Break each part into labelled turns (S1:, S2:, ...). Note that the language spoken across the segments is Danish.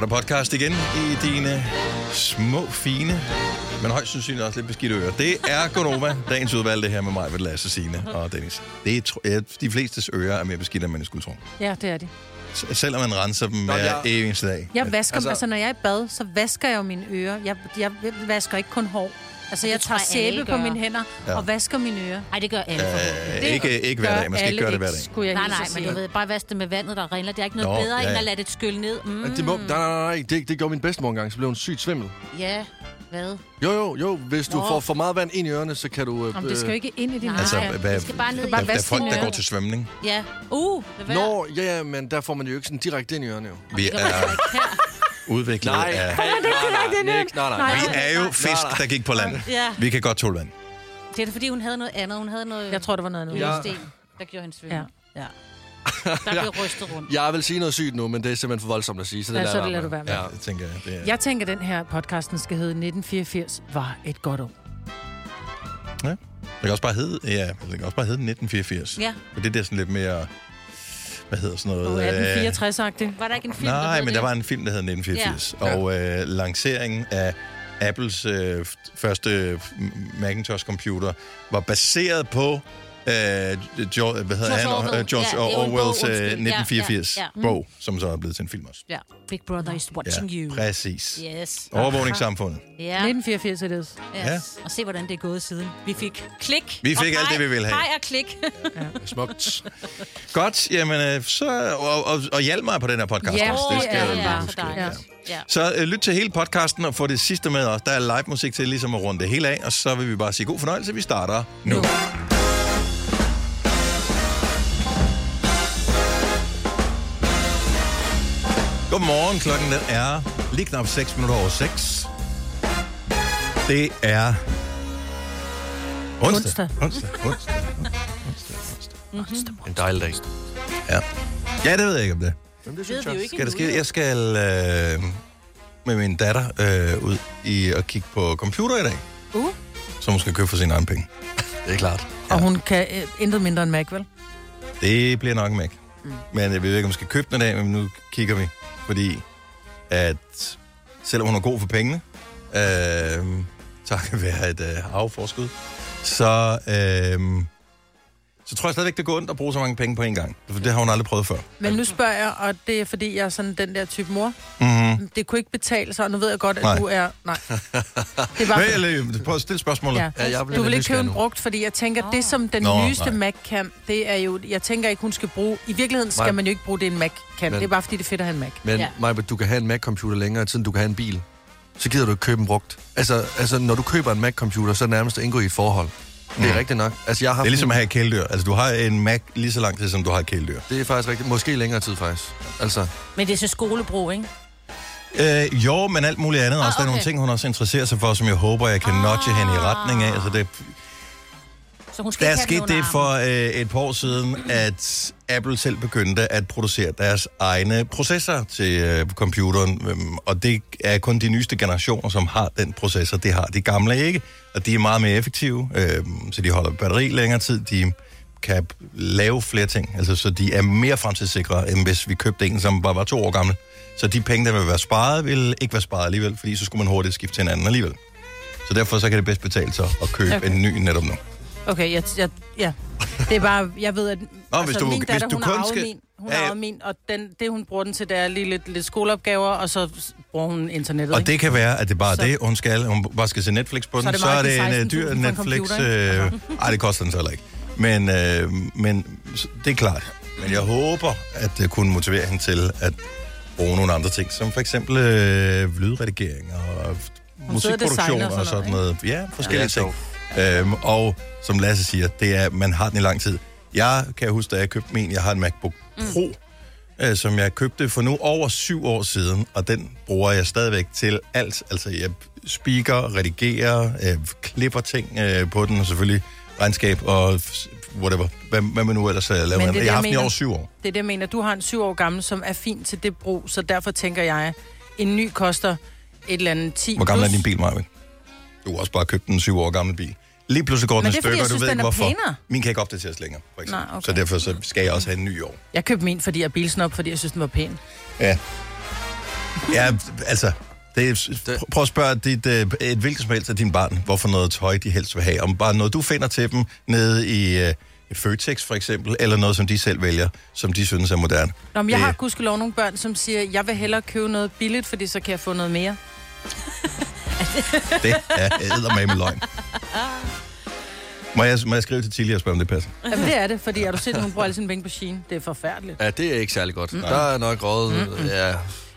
S1: der podcast igen i dine små, fine, men højst sandsynligt også lidt beskidte ører. Det er Gonova, dagens udvalgte her med mig, ved Lasse, Signe og Dennis. Det er, tro- ja, de flestes ører er mere beskidte, end man skulle tro.
S2: Ja, det er det.
S1: S- Selvom man renser dem hver
S3: jeg-
S1: eneste dag.
S2: Jeg vasker altså,
S3: Altså-
S2: altså, når jeg er i bad, så vasker jeg jo mine ører. Jeg, jeg vasker ikke kun hår. Altså, jeg
S4: Det
S2: tager
S4: tror jeg, alle
S2: sæbe på
S4: gør.
S2: mine hænder
S1: Ja.
S2: ja. og vasker mine ører.
S4: Ej, det gør alle forhåbentlig.
S1: Øh, ikke, ikke hver dag. Man skal ikke gøre det hver dag.
S2: Skulle jeg
S4: Nej,
S2: hilse
S4: nej,
S2: at
S4: men
S2: sige.
S4: du ved, bare vask det med vandet, der rindler. Det er ikke noget
S1: Nå,
S4: Nå, bedre,
S1: ja,
S4: ja. end
S1: ja.
S4: at lade det skylle ned. Mm,
S3: Men Det må, nej, nej, nej, det, det gjorde min bedstemor engang, så blev hun sygt svimmel.
S4: ja, hvad?
S3: Jo, jo, jo, hvis du
S4: Nå.
S3: får for meget vand ind i ørerne, så kan du... Øh,
S2: Jamen, det skal jo ikke ind i din
S4: Nej.
S2: altså,
S1: Altså,
S4: ja.
S1: hvad,
S4: Det skal bare ned i-
S1: der, der er
S2: Vask
S1: folk,
S2: dine
S1: der går
S2: ører.
S1: til svømning.
S4: Ja. Uh, lad
S3: øh,
S4: være.
S3: Nå, ja, ja, men der får man jo ikke sådan direkte ind i ørerne, jo.
S1: Vi er udviklet af...
S3: nej, nej, nej.
S1: Vi er jo fisk, der gik på land.
S4: Ja.
S1: Vi kan godt tåle vand.
S4: Det er da, fordi hun havde noget andet. Hun havde noget
S2: Jeg tror, det var noget andet.
S3: Ja.
S2: Ja.
S4: sten, der gjorde hende svimmel.
S2: Ja.
S4: Ja. ja. Der blev rystet rundt.
S3: Jeg vil sige noget sygt nu, men det er simpelthen for voldsomt at sige, så det,
S2: Ja, så
S3: jeg være
S2: det lader
S3: med.
S2: du være
S3: Ja.
S1: Jeg tænker, det er...
S2: Jeg tænker, den her podcasten skal hedde 1984 var et godt år.
S1: Ja. Det kan også bare hedde, ja, det kan også bare hedde 1984.
S4: Ja.
S1: Men det der sådan lidt mere, hvad hedder sådan noget? øh,
S2: 1864-agtigt.
S4: Var der ikke en film,
S1: Nej,
S4: hed
S1: men der
S4: det?
S1: var en film, der hed 1984.
S3: Ja.
S1: Og øh, lanceringen af Apples øh, f- første Macintosh-computer var baseret på øh, jo, hvad hedder
S4: George
S1: han?
S4: Orwell.
S1: Øh, George
S4: Ja, det er jo en bog,
S1: Orwells øh,
S4: undskyld. Ja,
S1: 1984
S4: ja, ja. Mm.
S1: bog, som så er blevet til en film også.
S4: Ja. Big Brother is watching you.
S1: præcis.
S4: Yes.
S1: Overvågningssamfundet.
S4: Ja.
S2: 1984 er det.
S4: Yes. Og se, hvordan det er gået siden. Vi fik klik.
S1: Vi fik
S4: og
S1: alt det, vi ville have.
S4: Hej og klik.
S3: Smukt.
S1: Godt, jamen øh, så... Og, og, og hjælp mig på den her podcast.
S2: Ja,
S1: også.
S2: det
S1: skal
S2: er
S1: jeg
S2: bare
S1: huske.
S4: så dejligt. Ja.
S1: Så øh, lyt til hele podcasten og få det sidste med os. Der er live musik til ligesom at runde det hele af, og så vil vi bare sige god fornøjelse. Vi starter nu. Godmorgen, klokken den er lige knap 6 minutter over 6. Det er onsdag.
S2: Onsdag.
S1: Onsdag, onsdag.
S3: En dejlig dag.
S1: Ja. ja, det ved jeg ikke om det.
S3: Jamen, det
S4: Det ved vi jo ikke
S1: Skal der
S4: endnu,
S1: ske? Jeg skal øh, med min datter øh, ud i at kigge på computer i dag.
S2: Uh.
S1: Som hun skal købe for sine egne penge.
S3: Det er klart.
S2: Og hun kan øh, intet mindre end Mac, vel?
S1: Det bliver nok en Mac. Mm. Men jeg ved ikke, om jeg skal købe den i dag, men nu kigger vi. Fordi at selvom hun er god for pengene, øh, takket være et øh, arveforskud, så, øh, så tror jeg stadigvæk, det går ondt at bruge så mange penge på en gang. For det har hun aldrig prøvet før.
S2: Men nu spørger jeg, og det er fordi, jeg er sådan den der type mor. Mm-hmm. Det kunne ikke betale sig, og nu ved jeg godt, at
S1: Nej.
S2: du er... Nej. Det er bare...
S1: Hey, eller, prøv at stille spørgsmålet.
S2: Ja.
S3: Ja, jeg bliver
S2: Du vil
S3: lidt
S2: ikke købe
S3: nysgerrig
S2: en
S3: nu.
S2: brugt, fordi jeg tænker, det som den
S1: Nå,
S2: nyeste
S1: nej.
S2: Mac kan, det er jo... Jeg tænker ikke, hun skal bruge... I virkeligheden skal
S3: Nej.
S2: man jo ikke bruge det, en Mac kan.
S3: Men-
S2: Det er bare fordi, det er fedt at have en Mac.
S3: Men
S4: Ja.
S3: ja. Maja, du kan have en Mac-computer længere tid, end du kan have en bil. Så gider du ikke købe en brugt. Altså, altså når du køber en Mac-computer, så er det nærmest at indgå i et forhold. Det er
S1: Mm.
S3: rigtigt nok. Altså, jeg har haft
S1: Det er ligesom at have et kæledyr. Altså, du har en Mac lige så lang tid, som du har et kæledyr.
S3: en- det er faktisk rigtigt. Måske længere tid, faktisk. Altså,
S4: Men det er så skolebrug, ikke?
S1: Øh, jo, men alt muligt andet ah, også. Der er nogle
S4: okay.
S1: ting, hun også interesserer sig for, som jeg håber, jeg kan ah. nudge hende i retning af. Altså, det,
S4: Så hun skal
S1: der
S4: ikke have den
S1: skete
S4: under
S1: det
S4: armen.
S1: for øh, et par år siden, at Apple selv begyndte at producere deres egne processorer til øh, computeren. Øhm, Og det er kun de nyeste generationer, som har den processor. Det har de gamle ikke, og de er meget mere effektive, øh, så de holder batteri længere tid. De kan lave flere ting, altså, så de er mere fremtidssikre, end hvis vi købte en, som bare var to år gammel. Så de penge, der vil være sparet, vil ikke være sparet alligevel, fordi så skulle man hurtigt skifte til en anden alligevel. Så derfor så kan det bedst betale sig at købe okay.
S2: Okay.
S1: en ny netop nu.
S2: Okay, jeg, jeg, ja. Det er bare, jeg ved, at Nå,
S1: hvis du-
S2: min
S1: hvis
S2: datter,
S1: du
S2: hun
S1: kun
S2: har arvet
S1: skal-
S2: min, hun
S1: Ja,
S2: har
S1: ja.
S2: arvet min, og den, det, hun bruger den til, det er lige lidt, lidt skoleopgaver, og så s- bruger hun internettet,
S1: Og
S2: ikke?
S1: det kan være, at det bare er det, hun skal. Hun bare skal se Netflix på den. Så er det, så er
S2: meget
S1: det en
S2: de
S1: øh, dyr
S2: 16.000 for en
S1: Netflix...
S2: computer, ikke?
S1: Øh, ej, det koster den så heller ikke. Men, øh, men s- det er klart. Men jeg håber, at det kunne motivere hende til at bruge nogle andre ting, som for eksempel øh, lydredigering og f-
S2: sidder og
S1: musikproduktion
S2: designer
S1: og
S2: og sådan
S1: sådan noget. Ja, forskellige
S3: Ja,
S1: ting. Øhm, og som Lasse siger, det er, man har den i lang tid. Jeg kan huske, da jeg købte min, jeg har en MacBook
S2: Mm.
S1: Pro, øh, som jeg købte for nu over syv år siden, og den bruger jeg stadigvæk til alt. Altså, jeg speaker, redigerer, øh, klipper ting øh, på den, og selvfølgelig regnskab og f- whatever. Hvad, hvad man nu ellers øh, laver.
S2: det er
S1: Men
S2: det,
S1: det, jeg
S2: jeg
S1: har haft den i
S2: mener.
S1: over syv år.
S2: Det er det, jeg mener. Du har en syv år gammel, som er fin til det brug, så derfor tænker jeg, en ny koster et eller andet 10
S1: Hvor gammel er
S2: plus.
S1: din bil, Marvin? Du har også bare købt en syv år gammel bil. Lige pludselig går den i
S2: Men det er, fordi
S1: stykker,
S2: jeg
S1: du
S2: synes,
S1: ved
S2: den
S1: ikke
S2: er
S1: hvorfor.
S2: pænere.
S1: Min kan ikke opdateres længere, for eksempel.
S2: Nej, okay.
S1: Så derfor så skal jeg også have en ny i år.
S2: Jeg købte min, fordi jeg er bilsnop, fordi jeg synes, den var pæn.
S1: Ja. Ja, altså, det er, prøv at spørge dit, øh, et hvilket som helst af dine barn, hvorfor noget tøj de helst vil have. Om bare noget, du finder til dem nede i øh, Føtex for eksempel, eller noget, som de selv vælger, som de synes er moderne.
S2: Nå, men jeg
S1: Det-
S2: har gudskelov nogle børn, som siger, jeg vil hellere købe noget billigt, fordi så kan jeg få noget mere.
S1: Det er med løgn. Må jeg, må jeg skrive til Tilly og spørge, om det passer?
S2: Jamen, det er det, fordi er du set, hun bruger alle sine penge på Shein. Det er forfærdeligt.
S3: Ja, det er ikke særlig godt. Der er nok røget... øh, Ja.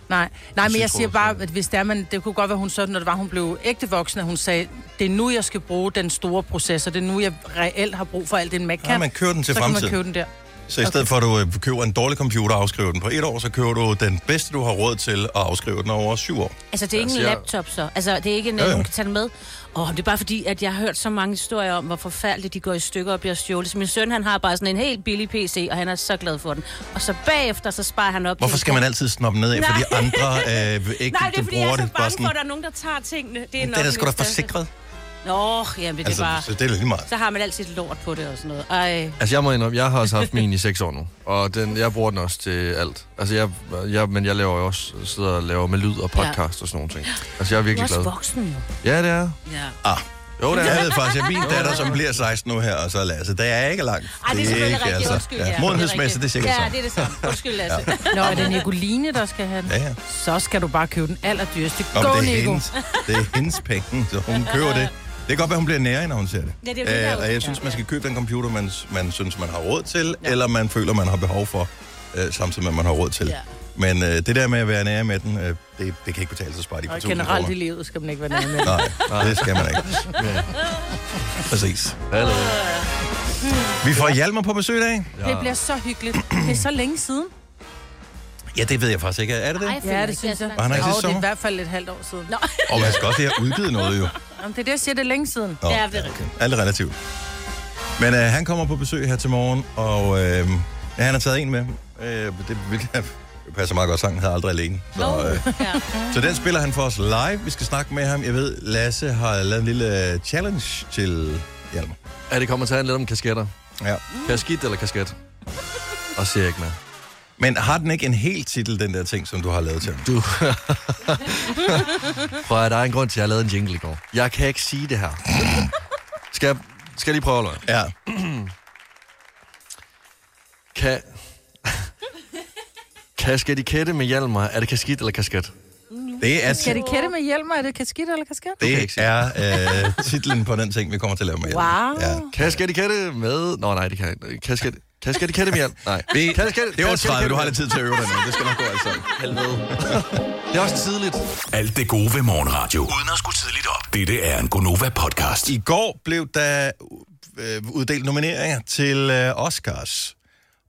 S2: Nej, nej men jeg
S3: Citrus,
S2: siger bare, at hvis det er, man, det kunne godt være, hun så, når det var, hun blev ægte voksen, at hun sagde, det er nu, jeg skal bruge den store processor. Det er nu, jeg reelt har brug for alt den Mac kan.
S1: man køber den til
S2: så
S1: fremtiden.
S2: kan man købe den der.
S1: Så i stedet for, at du øh, køber en dårlig computer og afskriver den på et år, så køber du den bedste, du har råd til, og afskriver den over syv år.
S4: Altså, det er ikke en
S3: siger-
S4: laptop så. Altså, det er ikke en,
S1: Ja,
S4: ja,
S1: ja.
S4: ja. hun kan tage den med. Åh, det er bare fordi, at jeg har hørt så mange historier om, hvor forfærdeligt de går i stykker og bliver stjålet. Så min søn, han har bare sådan en helt billig PC, og han er så glad for den. Og så bagefter, så sparer han op.
S1: Hvorfor
S4: til-
S1: skal man altid snoppe ned af, fordi
S4: Nej.
S1: andre øh, ikke
S4: Nej, det er fordi, jeg
S1: bruger
S4: er så
S1: det?
S4: bange for, at der er nogen, der tager tingene. Det er,
S1: det
S4: nok
S1: er da
S4: min
S1: sgu da
S4: største-
S1: forsikret.
S4: Nå, jamen det er
S1: Altså,
S4: bare...
S1: så det er da lige meget.
S4: Så har man altid lidt lort på det og sådan noget. Ej,
S3: Altså, jeg må indrømme, jeg har også haft min i seks år nu, og den, jeg bruger den også til alt. Altså, jeg, jeg, men jeg laver jo også, sidder og laver med lyd og podcast ja. og sådan nogle ting. Altså, jeg er
S4: du er
S3: virkelig
S4: også
S3: glad.
S4: voksen jo.
S3: Ja, det er.
S4: Ja.
S1: Ah,
S3: Jo, det
S1: jeg
S3: er.
S1: ved faktisk, at min datter, som bliver 16 nu her, og så Lasse, der er ikke langt.
S4: Ej, det er selvfølgelig
S1: ikke, altså.
S4: rigtigt. Undskyld, ja.
S1: Modenhedsmæssigt, det er sikkert
S4: Ja,
S1: ja,
S4: det er det samme. Undskyld, Lasse.
S2: Nå, er det Nicoline, der skal have den?
S1: Ja, ja.
S2: Så skal du bare købe den allerdyreste.
S1: Nå,
S2: Go,
S1: men det, er
S2: Nico.
S1: hendes, det er hendes penge, så hun køber det. Det kan godt være, hun bliver nære, når hun ser det. Øh,
S4: Ja, det er jo det, der er
S1: og jeg
S4: jo-
S1: synes,
S4: ja.
S1: man skal købe den computer, man, man synes, man har råd til, ja. eller man føler, man har behov for, øh, samtidig med, at man har råd til. Ja.
S4: Ja.
S1: Men øh, det der med at være nære med den, øh, det, det kan ikke betale sig at spare de på
S2: Og
S1: 1000
S2: generelt i
S1: kroner.
S2: livet skal man ikke være nær med.
S1: Nej, det skal man ikke. Præcis.
S3: Hallo.
S1: Vi får Hjalmar på besøg i dag.
S2: Det bliver så hyggeligt. Det er så længe siden.
S1: Ja, det ved jeg faktisk ikke. Er det det?
S4: Ej,
S2: Ja, det synes jeg.
S1: Var han her i sidste
S2: det er i
S1: sommer?
S2: hvert fald et halvt år siden. Nå.
S1: Og man skal også lige have udgivet noget, jo.
S2: Jamen, det er det, jeg siger, det er længe siden.
S1: Nå,
S4: Ja, det er rigtigt.
S1: Alt er relativt. Men øh, han kommer på besøg her til morgen, og øh, ja, han har taget en med. Øh, det, vil- det passer meget godt, sangen hedder aldrig alene. Så, øh,
S4: Ja.
S1: så den spiller han for os live. Vi skal snakke med ham. Jeg ved, Lasse har lavet en lille øh, challenge til Hjalmar.
S3: Er det kommer til at handle lidt om kasketter?
S1: Ja.
S3: Kasket eller kasket? Og ser jeg ikke med.
S1: Men har den ikke en hel titel, den der ting, som du har lavet til ham?
S3: Du. Prøv at der er en grund til, at jeg lavede en jingle i går. Jeg kan ikke sige det her. Skal jeg, skal jeg lige prøve, eller hvad?
S1: Ja.
S3: Kan... Kasketikette med Hjalmar. Er det kasket eller kasket?
S1: Det er,
S2: Skal det kætte med hjelmer? Er det kasket eller kasket?
S1: det er øh, titlen på den ting, vi kommer til at lave med Hjalmar.
S2: Wow.
S1: Ja.
S3: Kasketikette med... Nå, nej, det kan jeg ikke. Kasket... Kasketikette med Hjalmar. Nej.
S1: Vi,
S3: Kasket-
S1: det er over 30,
S3: kasketikette
S1: du
S3: med-
S1: har lidt tid til at øve dig nu. Det skal nok gå alt sammen.
S3: Det er også tidligt.
S5: Alt det gode ved morgenradio. Uden at skulle tidligt op. Dette er en Gonova-podcast.
S1: I går blev der øh, uddelt nomineringer til øh, Oscars.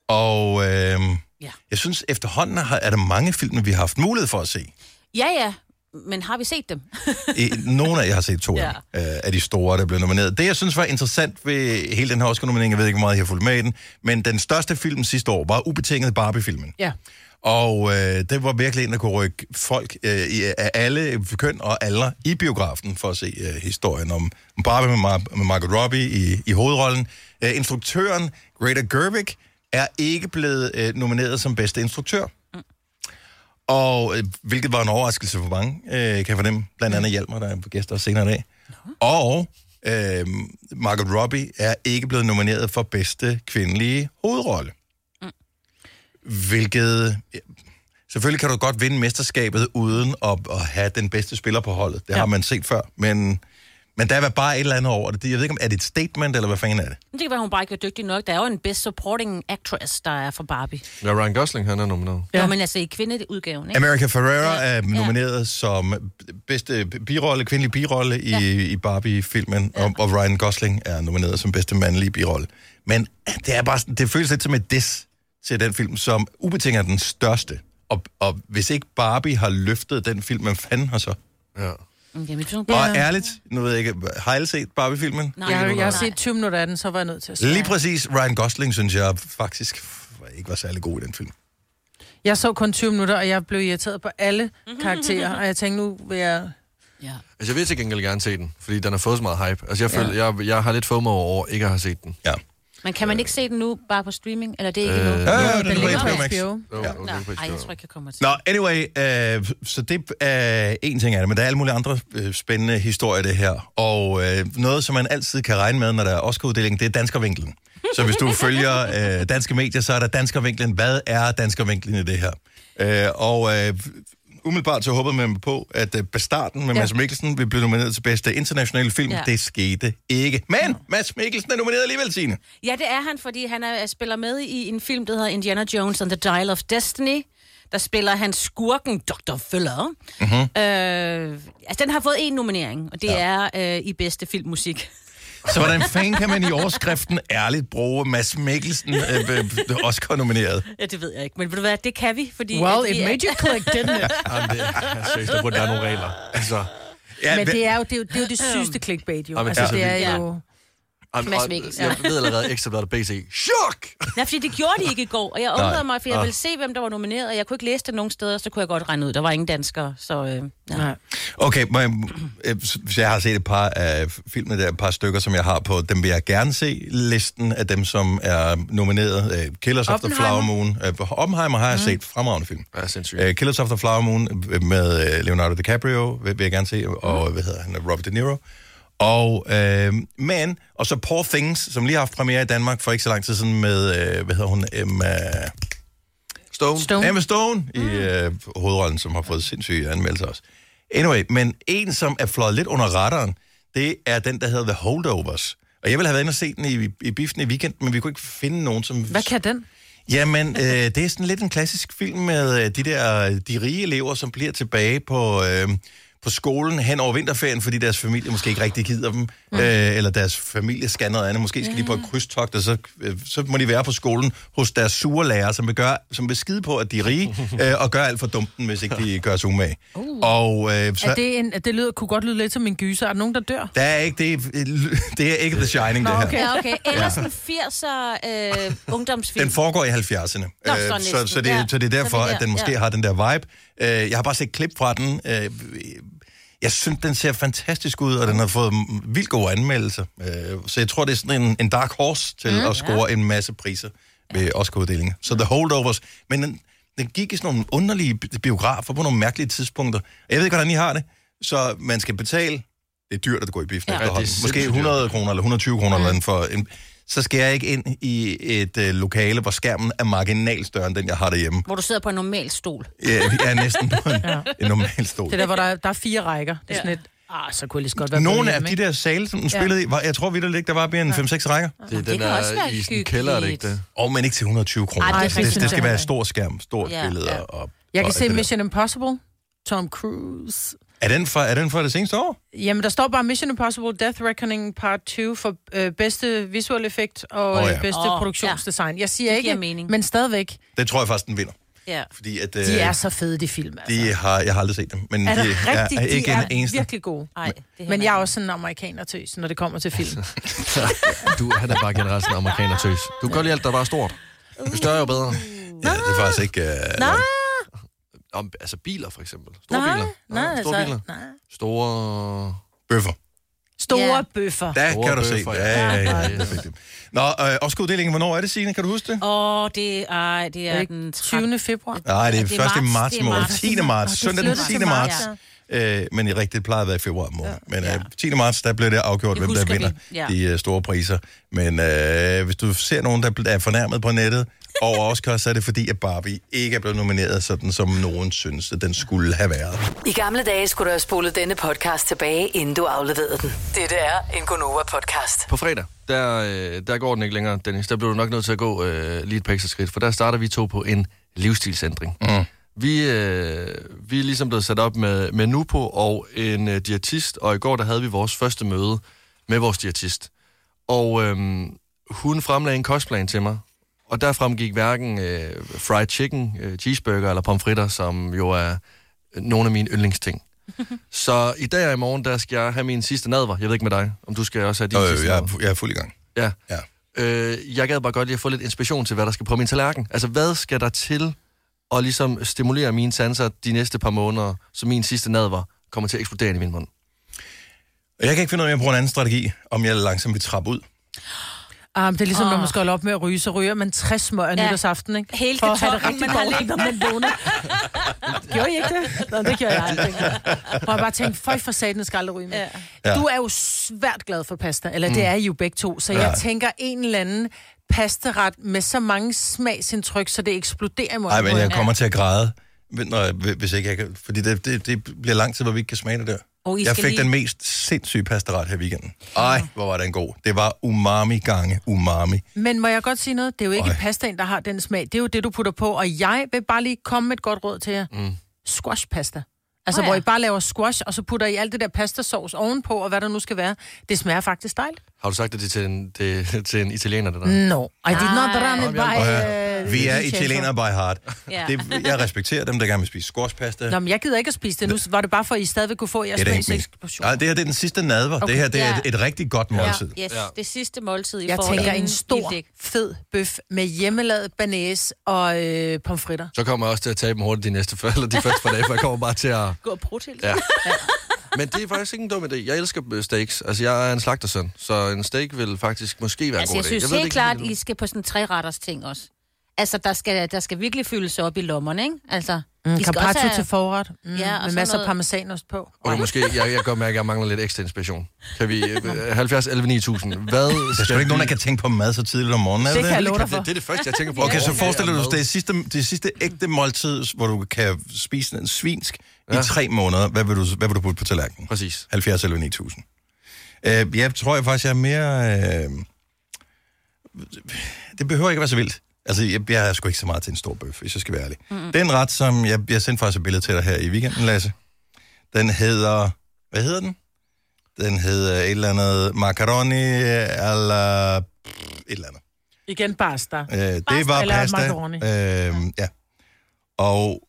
S1: Og øh, ja.
S4: Ja.
S1: jeg synes, efterhånden har, er der mange film, vi har haft mulighed for at se.
S4: ja, ja. Men har vi set dem?
S1: I, nogle af jer har set to ja.
S4: Ja.
S1: øh, af de store, der blev nomineret. Det, jeg synes var interessant ved hele den her Oscar-nominering, jeg ved ikke, hvor meget I har fulgt med i den, men den største film sidste år var ubetinget Barbie-filmen.
S2: Ja.
S1: Og øh, det var virkelig en, der kunne rykke folk øh, i, af alle køn og alder i biografen for at se øh, historien om Barbie med, Mar- med Margot Robbie i, i hovedrollen. Øh, instruktøren Greta Gerwig er ikke blevet øh, nomineret som bedste instruktør. Og øh, hvilket var en overraskelse for mange, øh, kan jeg fornemme. Blandt andet Hjalmar, der er på gæster senere i dag. Og øh, Margot Robbie er ikke blevet nomineret for bedste kvindelige hovedrolle. Hvilket... ja, Selvfølgelig kan du godt vinde mesterskabet uden at, at have den bedste spiller på holdet. Det ja. har man set før. Men, men der er bare et eller andet over det. Jeg ved ikke, om er det et statement, eller hvad fanden er det?
S4: Men Det kan være, hun bare ikke er dygtig nok. Der er jo en best supporting actress, der er fra Barbie.
S3: Ja, Ryan Gosling, han er nomineret.
S4: Ja.
S2: Ja.
S4: Nå, men altså i kvindeudgaven, ikke?
S1: America Ferrera ja. er nomineret ja. som bedste birolle, kvindelig birolle i, ja. i Barbie-filmen, ja. og, og Ryan Gosling er nomineret som bedste mandlige birolle. Men det er bare sådan, det føles lidt som et diss til den film, som ubetinget er den største. Og, og hvis ikke Barbie har løftet den film, hvad fanden har så?
S3: Ja.
S4: Jamen, det er
S1: Ja.
S4: bare...
S1: Og ærligt, nu ved jeg ikke, har I set Barbie-filmen?
S4: Nej,
S2: Jeg, jeg har set
S4: nej.
S2: 20 minutter af den, så var jeg nødt til at se.
S1: Lige præcis Ryan Gosling, synes jeg faktisk ikke var særlig god i den film.
S2: Jeg så kun 20 minutter, og jeg blev irriteret på alle
S4: Mhm.
S2: karakterer, og jeg tænkte, nu vil jeg...
S4: Ja.
S3: Altså, jeg vil til gengæld gerne se den, fordi den har fået så meget hype. Altså, jeg, føler, ja. jeg, jeg har lidt FOMO over ikke at have set den.
S1: Ja.
S4: Men kan man ikke se den nu bare på streaming? Eller det er ikke
S3: Øh,
S4: øh, nu?
S3: Ja,
S1: Ja, ja,
S2: den
S1: den ligger
S2: ligger
S1: på
S2: på
S1: Max.
S2: HBO.
S3: Jo,
S1: Ja.
S3: okay,
S4: Nå,
S3: på
S4: ej,
S3: HBO.
S4: jeg tror ikke, jeg kommer til.
S1: Nå, anyway, øh, så det er en ting af det, men der er alle mulige andre øh, spændende historier, det her. Og øh, noget, som man altid kan regne med, når der er Oscar-uddeling, det er danskervinklen. Så hvis du følger øh, danske medier, så er der danskervinklen. Hvad er danskervinklen i det her? Øh, og øh, umiddelbart så håbede man på, at øh, Bastarden med ja.
S4: Ja.
S1: Mads Mikkelsen ville blive nomineret til bedste internationale film. Ja.
S4: Ja.
S1: Det skete ikke. Men Mads Mikkelsen er nomineret alligevel, Signe.
S4: Ja, det er han, fordi han er, spiller med i en film, der hedder Indiana Jones and the Dial of Destiny. Der spiller han skurken Dr. Fuller. Mm-hmm. Øh, altså, den har fået en nominering, og det ja. er øh, i bedste filmmusik.
S1: Så hvordan fanden kan man i overskriften ærligt bruge Mads Mikkelsen øh, øh, Oscar-nomineret?
S4: Ja, det ved jeg ikke, men ved du hvad, det kan vi, fordi...
S2: Well,
S4: at
S2: it
S4: vi
S2: made you click, didn't it?
S3: Jamen, det er seriøst, der burde være nogle regler. Altså,
S1: Ja,
S2: Men
S1: hva-
S2: det er jo det, er jo, det, er jo det
S4: Øhm.
S2: sygeste clickbait, jo.
S3: Jamen,
S2: Altså,
S3: altså,
S2: det
S3: vi-
S2: er
S4: ja.
S2: jo...
S3: jamen,
S4: Mads
S3: og-
S4: Mikkelsen.
S3: Jeg ved allerede, ekstrabladet BC. Chok!
S4: Nej, fordi det gjorde de ikke i går, og jeg undrede mig, for jeg ville se, hvem der var nomineret, og jeg kunne ikke læse det nogen steder, så kunne jeg godt regne ud, der var ingen danskere, så... Øh, ja.
S2: Nej.
S1: Okay, må jeg, øh, hvis jeg har set et par af filmene der, et par stykker, som jeg har på, dem vil jeg gerne se, listen af dem, som er nomineret. Øh, Killers of the
S2: Oppenheimer.
S1: Flower Moon. Øh, Oppenheimer har jeg set, fremragende film.
S3: Ja, sindssygt.
S1: Øh, Killers of the Flower Moon øh, med øh, Leonardo DiCaprio, vil, vil jeg gerne se, og hvad hedder han, Robert De Niro. Og, øh, men, og så Poor Things, som lige har haft premiere i Danmark for ikke så lang tid siden med, øh, hvad hedder hun, Emma...
S3: Stone.
S2: Stone.
S1: Emma Stone i øh, hovedrollen, som har fået sindssyge anmeldelser også. Anyway, men en, som er fløjet lidt under radaren, det er den, der hedder The Holdovers. Og jeg ville have været inde og se den i, i biffen i weekenden, men vi kunne ikke finde nogen, som...
S2: Hvad kan den?
S1: Jamen, øh, det er sådan lidt en klassisk film med øh, de der de rige elever, som bliver tilbage på, øh, på skolen hen over vinterferien, fordi deres familie måske ikke rigtig gider dem,
S2: Mm.
S1: øh, eller deres familie skal noget andet. Måske skal de på et krydstogt, og så, øh, så må de være på skolen hos deres sure lærer, som vil, gøre, som vil skide på, at de er rige, øh, og gøre alt for dumten, hvis ikke de gør sig umage. Og, øh, så,
S2: Uh. Er det, en, det lyder, kunne godt lyde lidt som en gyser. Er der nogen, der dør?
S1: der er ikke, det, er, det er ikke The Shining,
S2: Nå,
S1: det her.
S2: Ah, okay.
S4: Ja, okay. Ellers en 80'er øh, ungdomsfilm.
S1: Den foregår i 70'erne,
S4: Nå,
S1: Øh,
S4: så
S1: så,
S4: næsten.
S1: så, det,
S4: Ja.
S1: så det er
S4: Så
S1: derfor,
S4: det er
S1: at den
S4: der,
S1: måske
S4: ja.
S1: har den der vibe. Øh, Jeg har bare set klip fra den. Øh, Jeg synes, den ser fantastisk ud, og den har fået m- vildt gode anmeldelser. Øh, Så jeg tror, det er sådan en, en dark horse til mm, at score ja. en masse priser ved Oscar-uddelingen. Så The Holdovers. Men den, den gik i sådan nogle underlige bi- biografer på nogle mærkelige tidspunkter. Jeg ved ikke, hvordan I har det. Så man skal betale. Det er dyrt at gå i biffen
S4: Ja.
S1: ja.
S4: Mm. Ja,
S3: det er
S1: efterhånden. Måske
S3: sindssygt dyrt.
S1: 100 100 kroner eller 120 kroner eller andet for... En, så skal jeg ikke ind i et øh, lokale, hvor skærmen er marginalt større end den, jeg har derhjemme.
S4: Hvor du sidder på en normal stol.
S1: Jeg jeg er næsten på en, ja. en normal stol.
S2: Det er der, hvor der, er- der er fire rækker. Det er sådan
S4: Ja.
S2: lidt, ah, så kunne jeg lige så godt være
S1: Nogle
S2: blevet
S1: af
S2: hjemme,
S1: de der sale, som den spillede i, var, jeg tror vidt og ikke, der var mere end 5-6 rækker.
S3: Det, er den
S4: kan
S3: der
S4: også
S3: i
S4: være
S3: sådan en
S4: hyggeligt.
S3: kælder, er det ikke det?
S1: Og men ikke til 120 kroner.
S4: Ej, det er
S1: det,
S4: rigtigt,
S1: det, det skal
S2: det er
S1: være
S2: det.
S1: stor skærm, stort ja,
S4: Ja,
S1: billede.
S4: ja.
S1: Og,
S2: Jeg
S1: og
S2: kan se
S1: alt det der.
S2: Mission Impossible, Tom Cruise.
S1: Er den, fra, er den fra det seneste år?
S2: Jamen, der står bare Mission Impossible Death Reckoning Part 2 for øh, bedste visuel effekt og
S1: Åh,
S2: oh,
S1: ja.
S2: ja. bedste
S4: Åh,
S2: oh,
S4: ja.
S2: produktionsdesign. Jeg siger
S4: Det giver
S2: ikke,
S4: mening.
S2: men stadigvæk.
S1: Det tror jeg faktisk, den vinder.
S4: Ja.
S1: Fordi at,
S2: De
S1: øh,
S2: er så fede, de film. Altså.
S1: de har, jeg har aldrig set dem, men
S2: er
S1: de
S2: det
S1: er,
S2: rigtigt?
S1: er
S2: De
S1: ikke
S2: er
S1: en eneste.
S2: virkelig gode.
S4: Ej, det hænger
S2: Men jeg er
S4: ikke.
S2: også sådan en amerikaner tøs, når det kommer til film.
S3: Du, han er bare generelt sådan en amerikaner tøs. Du kan godt lide alt, der bare er stort. Jo større, jo bedre.
S1: Ja, det er faktisk ikke... Øh,
S4: Nej,
S3: Om, altså biler, for eksempel. Store
S2: Nej,
S3: biler.
S2: nej,
S3: store biler.
S2: altså, nej.
S3: Store...
S1: bøffer.
S2: Store
S4: Ja.
S2: bøffer.
S1: Der
S3: Store
S1: kan du se.
S3: bøffer,
S1: Ja,
S3: ja.
S1: ja, ja.
S3: Ja,
S1: ja.
S3: ja.
S1: Perfekt. Nå, øh, Oscar-uddelingen, hvornår er det, Signe? Kan du huske det?
S4: Åh, det, ej, det
S2: Er
S4: er
S2: det ikke
S4: den
S2: 20. februar.
S1: Nej, det er,
S4: det er
S1: først i
S4: marts,
S1: marts
S4: det er
S1: måned.
S4: marts.
S1: 10. marts.
S2: det
S1: Søndag den
S2: flytter til
S1: 10. marts.
S2: marts,
S1: Øh, men i rigtigt plejede at være i februar måned. Men øh, 10. marts, der blev det afgjort,
S4: Det
S1: hvem der
S4: husker
S1: vinder
S4: vi, ja.
S1: de øh, store priser. Men øh, hvis du ser nogen, der er fornærmet på nettet over Oscar, så er det fordi, at Barbie ikke er blevet nomineret, sådan som nogen synes, at den skulle have været.
S6: I gamle dage skulle du have spolet denne podcast tilbage, inden du afleverede den. Dette er en Gonova-podcast.
S3: På fredag, der, øh, der går den ikke længere, Dennis. Der bliver du nok nødt til at gå øh, lige et par ekstra skridt, for der starter vi to på en livsstilsændring. Mm. Vi, øh, vi er ligesom blevet sat op med, med Nupo og en øh, diætist, og i går der havde vi vores første møde med vores diætist. Og øhm, hun fremlagde en kostplan til mig, og der fremgik hverken øh, fried chicken, øh, cheeseburger eller pomfritter, som jo er øh, nogle af mine yndlingsting. Så i dag og i morgen, der skal jeg have min sidste nadver. Jeg ved ikke med dig, om du skal også have din
S1: Øh,
S3: sidste
S1: jeg,
S3: nadver.
S1: er, jeg er fuld i gang.
S3: Ja.
S1: Ja.
S3: Øh, jeg gad bare godt lige at få lidt inspiration til, hvad der skal på min tallerken. Altså, hvad skal der til at ligesom stimulere mine sanser de næste par måneder, så min sidste nadver kommer til at eksplodere ind i min mund?
S1: Og Jeg kan ikke finde ud af, om jeg bruger en anden strategi, om jeg langsomt vil trappe ud.
S2: Ah, men det er ligesom, oh. når
S4: Åh.
S2: man skal holde op med at ryge, så ryger man 60 smør af ja.
S4: Ja.
S2: nytårsaften, ikke?
S4: Hele
S2: For at have det
S4: kartoflen,
S2: rigtig
S4: man har
S2: dårligt, når man vågner. gjorde I ikke det? Nå, det gjorde jeg aldrig. Og jeg bare tænkte, føj for satan, jeg skal aldrig ryge med.
S1: Ja. Mm.
S2: Ja. Du er jo svært glad for pasta, eller det er I jo begge to, så ja. jeg tænker en eller anden pastaret med så mange smagsindtryk, så det eksploderer i munden.
S1: Nej, men
S2: på
S1: jeg
S2: en.
S1: kommer til at græde, men- når, jeg- hvis ikke jeg kan, fordi det, det, det bliver lang tid, hvor vi ikke kan smage det der.
S4: Og I
S1: jeg
S4: skal
S1: fik
S4: lige-
S1: den mest sindssyge pastaret her i weekenden. Ej, hvor var den god. Det var umami-gange, umami.
S2: Men må jeg godt sige noget? Det er jo ikke
S1: Oj.
S2: pastaen, der har den smag. Det er jo det, du putter på. Og jeg vil bare lige komme med et godt råd til jer. Mm. Squashpasta. Altså,
S4: Åh,
S2: oh,
S4: ja.
S2: ja. hvor I bare laver squash, og så putter I alt det der pastasauce ovenpå, og hvad der nu skal være. Det smager faktisk dejligt.
S3: Har du sagt det til en, det, til en italiener, det der?
S2: No, I did not run it by...
S1: Og
S2: øh,
S1: her, vi er
S2: DJ for.
S1: italienere by heart.
S4: Ja.
S1: Det, jeg respekterer dem, der gerne vil spise squashpasta.
S2: Nå, men jeg gider ikke at spise det. Nu var det bare for, at I stadigvæk kunne få jeres
S1: det er da ikke min.
S2: smagseksplosion.
S1: Nej, det her det er den sidste nadver. Okay. Det her det er
S4: Ja.
S1: et, et rigtig godt måltid.
S4: Ja, yes,
S3: Ja.
S4: ja. det sidste måltid, I
S2: Jeg
S4: får.
S2: tænker
S4: inden
S2: en stor,
S4: vilddæk.
S2: fed bøf med hjemmelavet banæs og øh, pomfritter.
S3: Så kommer jeg også til at tabe dem hurtigt de næste før, eller de første par dage, for jeg kommer bare til at...
S4: Gå og brug til.
S3: Ja.
S2: Mm,
S3: Men det er faktisk ikke en dum idé. Jeg elsker øh, steaks. Altså, jeg er en slagtersøn, så en steak vil faktisk måske være
S4: Altså,
S3: en god
S4: jeg
S3: idé.
S4: synes
S3: ved det
S4: helt
S3: ikke
S4: klart,
S3: helt
S4: I
S3: endnu.
S4: skal på sådan en træretters ting også. Altså, der skal, der skal virkelig fyldes op i lommerne, ikke? Altså, mm, I skal
S2: Carpaccio
S4: have-
S2: til forret, mm,
S4: Ja, og
S2: ja, med
S4: så
S2: masser af
S4: noget-
S2: parmesanost på.
S3: Okay, måske. Jeg, jeg kan godt mærke, at jeg mangler lidt ekstra inspiration. Kan vi... øh, 70, 11, 9000. Hvad
S1: Der er sgu da ikke nogen,
S3: vi-
S1: der kan tænke på mad så tidligt om morgenen, er
S2: Det
S1: det?
S2: kan jeg
S1: det?
S2: love dig for.
S3: Det, det er det første, jeg tænker på.
S1: Okay, så
S3: Overmorgen
S1: forestil dig,
S3: er
S1: hvis det
S3: mad.
S1: er sidste, det sidste ægte måltid, hvor du kan spise en svinsk ja. i tre måneder. Hvad vil du, hvad vil du putte på tallerkenen?
S3: Præcis.
S1: 70 eller 9000. Øh, jeg tror jeg faktisk, jeg er mere... Øh... Det behøver ikke at være så vildt. Altså, jeg, jeg er sgu ikke så meget til en stor bøf, hvis jeg skal være ærlig. Mm. Den ret, som... Jeg, jeg sendte faktisk et billede til dig her i weekenden, Lasse. Den hedder... Hvad hedder den? Den hedder et eller andet macaroni eller pff, et eller andet.
S2: Igen pasta.
S1: Øh, det
S2: Pasta
S1: var
S2: eller
S1: pasta.
S2: macaroni?
S1: Øh, ja. Og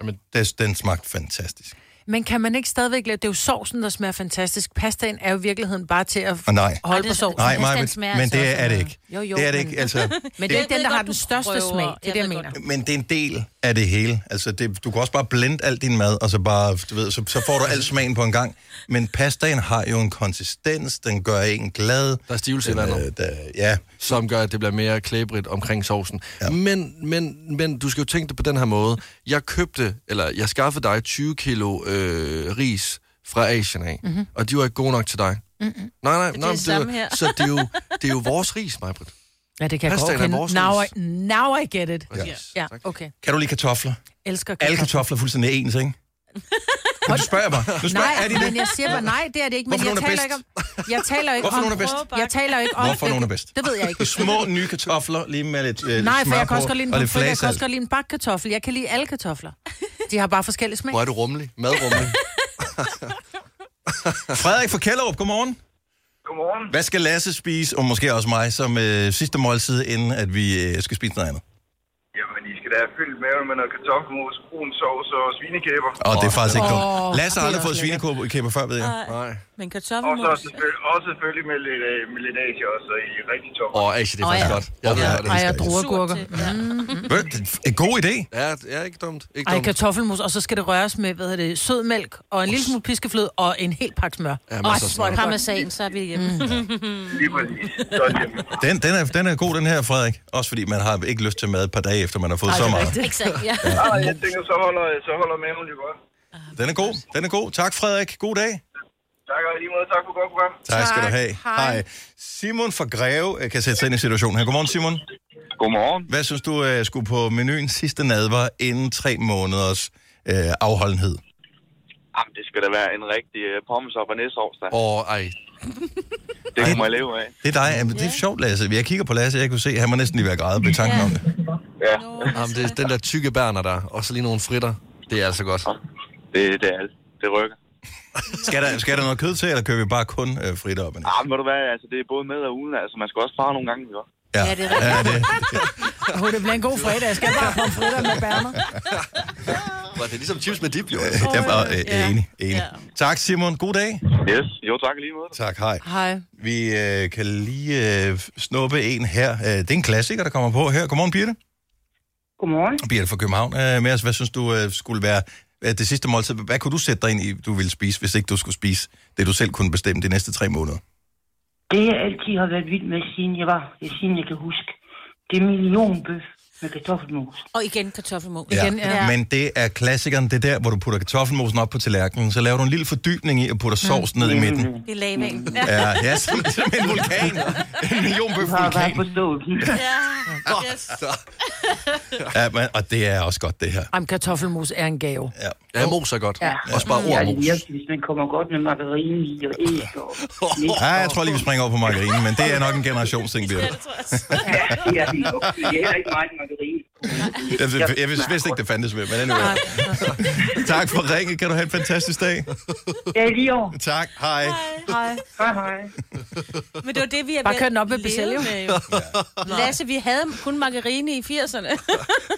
S3: Jamen.
S1: des, den smagte fantastisk.
S2: Men kan man ikke stadigvæk lave... Det er jo sovsen, der smager fantastisk. Pastaen er jo i virkeligheden bare til at
S1: Og nej,
S2: holde
S4: Ej,
S2: på
S4: det-
S2: sovsen.
S1: nej,
S4: pastaen
S1: Maja, men,
S4: smager
S1: men
S4: altså
S1: det
S4: også
S1: er det
S4: af-
S1: ikke.
S2: Jo, jo,
S1: det er det
S2: men-
S1: ikke, altså.
S2: Men det er
S4: Jeg
S2: ikke den,
S4: ved
S2: der
S4: godt,
S2: har den
S4: du
S2: største
S4: prøver.
S2: smag. Det er
S4: Jeg
S2: det, jeg
S4: ved
S2: mener.
S1: Men det er en del af det hele. Altså, det, du kan også bare blende alt din mad, og så bare, du ved, så, så får du al smagen på en gang. Men pastaen har jo en konsistens, den gør en glad.
S3: Der er stivelse i
S1: Den,
S3: vandet.
S1: øh, der, ja,
S3: som gør, at det bliver mere klæbrigt omkring sovsen. Ja. Men, men, men du skal jo tænke det på den her måde. Jeg købte, eller jeg skaffede dig 20 kilo øh, ris fra Asien af, mm-hmm. og de var ikke gode nok til dig. Mm-hmm. Nej, nej,
S4: Mhm. det
S3: nej, men
S4: samme her.
S3: så det er, jo, det er jo vores ris, Majbrit.
S2: Ja, det kan jeg
S3: Pastaen
S2: godt
S3: er
S2: kende.
S3: vores
S2: Now
S3: ris.
S2: I, now I get it.
S3: Ja.
S2: Ja, okay.
S1: kan du lide kartofler?
S2: Elsker
S1: Alle
S2: kartofler.
S1: kartofler er fuldstændig ens, ikke? Nu spørger jeg bare. Nu spørger, jeg, er
S2: Nej,
S1: de det?
S2: men jeg siger bare, nej, det er det ikke. Men
S1: Hvorfor
S2: jeg
S1: nogen er
S2: taler ikke om... Jeg taler ikke
S1: Hvorfor
S2: om...
S1: nogen er bedst?
S2: Jeg taler ikke om...
S1: Hvorfor nogen er bedst?
S2: Det ved jeg ikke.
S1: Små, nye kartofler, lige med lidt øh,
S2: Nej, for
S1: smør
S2: jeg
S1: på,
S2: kan også godt lide en
S1: og lidt
S2: pomfrit, jeg kan også
S1: flagesalt.
S2: godt lide en bakkartoffel. Jeg kan lide alle kartofler. De har bare forskellige smag.
S3: Hvor er du rummelig? Madrummelig.
S1: Frederik fra Kjellerup, godmorgen.
S7: Godmorgen.
S1: Hvad skal Lasse spise, og måske også mig, som øh, sidste måltid, inden at vi øh, skal spise noget andet?
S7: Jamen, I skal da have fyldt maven med noget kartoffelmos, brun sovs og svinekæber.
S1: Og det er faktisk ikke
S2: Åh,
S1: dumt. Lasse har
S2: det er
S1: aldrig fået
S2: også lækkert.
S1: svinekæber før, ved jeg.
S3: nej.
S4: Men
S7: Og så
S4: kartoffelmos.
S7: selvfølgelig, og selvfølgelig med lidt, øh, med lidt asia også, så I er rigtig top.
S3: Åh, oh, Asia, det er
S4: Åh,
S3: faktisk
S4: ja.
S3: godt. Jeg ved,
S1: Ja.
S3: hvad det
S2: Ej,
S3: er.
S2: jeg
S1: elsker
S2: druer
S4: Surt
S2: gurker.
S4: til. Ja.
S1: Ved du, det er En god idé.
S3: Ja, det er ikke dumt. Ikke
S2: mm, Ej,
S3: dumt.
S2: kartoffelmos, og så skal det røres med, hvad hedder det, sød mælk, og en lille smule piskefløde, og en hel pakke smør.
S3: Ja,
S2: Ej,
S3: masser af
S2: hvor er det Mm. godt.
S4: Parmesan, så er vi hjemme.
S7: Lige præcis. Sådan hjemme.
S1: Den, den, er, den er god, den her, Frederik. Også fordi man har ikke lyst til mad et par dage, efter man har fået
S2: Ej,
S1: så
S2: det er
S1: meget.
S2: rigtigt.
S4: Ikke sandt, ja.
S7: Ah, jeg tænker, så holder, så holder maven jo godt.
S1: Den er god, den er god. Tak, Frederik. God dag.
S7: Tak og i lige måde. Tak for godt program.
S1: Tak, skal du have.
S2: Hej.
S1: Simon fra Greve øh, kan sætte sig ind i situationen her. Godmorgen, Simon.
S7: Godmorgen.
S1: Hvad synes du øh, skulle på menuen sidste nadver inden tre måneders øh, afholdenhed?
S7: Jamen, det skal da være en rigtig øh, pommes op og næsovs, da.
S3: Åh, ej.
S7: Det kan man leve af.
S1: Det er dig. Jamen, det er sjovt, Lasse. Jeg kigger på Lasse, jeg kunne se, han var næsten lige ved at græde ved tanken om det.
S7: Ja,
S3: Jamen, det er den der tykke bærner der, og så lige nogle fritter. Det er altså godt.
S7: det, det er alt. Det rykker.
S1: Skal der, skal der noget kød til, eller kører vi bare kun øh, frit op?
S7: Ah, men må du være, altså, det er både med og uden. Altså, man skal også spare nogle gange, ikke? også?
S1: Ja,
S4: det er
S1: ja, det,
S2: Åh, det bliver en god fredag. Jeg skal bare have pomfritter med bærmer.
S3: Var det er ligesom chips med dip, jo.
S1: Øh, Jeg er øh, øh, enig, enig. Tak, Simon. God dag.
S7: Yes. Jo, tak i lige måde.
S1: Tak, hej.
S2: Hej.
S1: Vi øh, kan lige øh, snuppe en her. Øh, det er en klassiker, der kommer på her. Godmorgen, Birte.
S8: Godmorgen.
S1: Birte fra København øh, med os. Hvad synes du øh, skulle være øh, det sidste måltid? Hvad kunne du sætte dig ind i, du ville spise, hvis ikke du skulle spise det, du selv kunne bestemme de næste tre måneder?
S8: Det, jeg altid har været vild med, siden jeg var, ja, siden jeg kan huske, det er millionbøf med kartoffelmos.
S4: Og igen kartoffelmos.
S1: Ja.
S2: Igen, ja.
S1: Men det er klassikeren, det er der, hvor du putter kartoffelmosen op på tallerkenen, så laver du en lille fordybning i og putter sovs ned i midten.
S8: Mm.
S4: I lavningen. Ja.
S1: Ja, ja som, som en vulkan. En millionbøf
S8: Bare, bare
S1: vulkan.
S8: forståelsen.
S4: ja. Yes.
S1: Ja, men, og det er også godt, det her.
S2: Jamen, kartoffelmos er en gave.
S1: Ja.
S3: Ja, mos er godt. Ja. Også bare
S8: Ja,
S3: ord
S8: det
S3: mos.
S8: er virkelig, hvis man kommer godt med margarine i og æg og lidt.
S1: Ja, jeg tror lige, vi springer over på margarine, men det er nok en generationsting, Birte.
S8: Det er helt okay. Det er heller ikke meget margarine.
S1: Jeg, jeg, jeg vidste vidste ikke, det fandtes mere, men anyway. tak for ringen. Kan du have en fantastisk dag.
S8: Ja, lige over.
S1: Tak. Hej.
S2: Hej.
S8: Hej, hej.
S4: Men det var det, vi har
S2: Bare
S4: været-
S2: kør den op med
S4: levet
S2: Bicelio.
S4: med, jo. Lasse, vi havde kun margarine i 80'erne.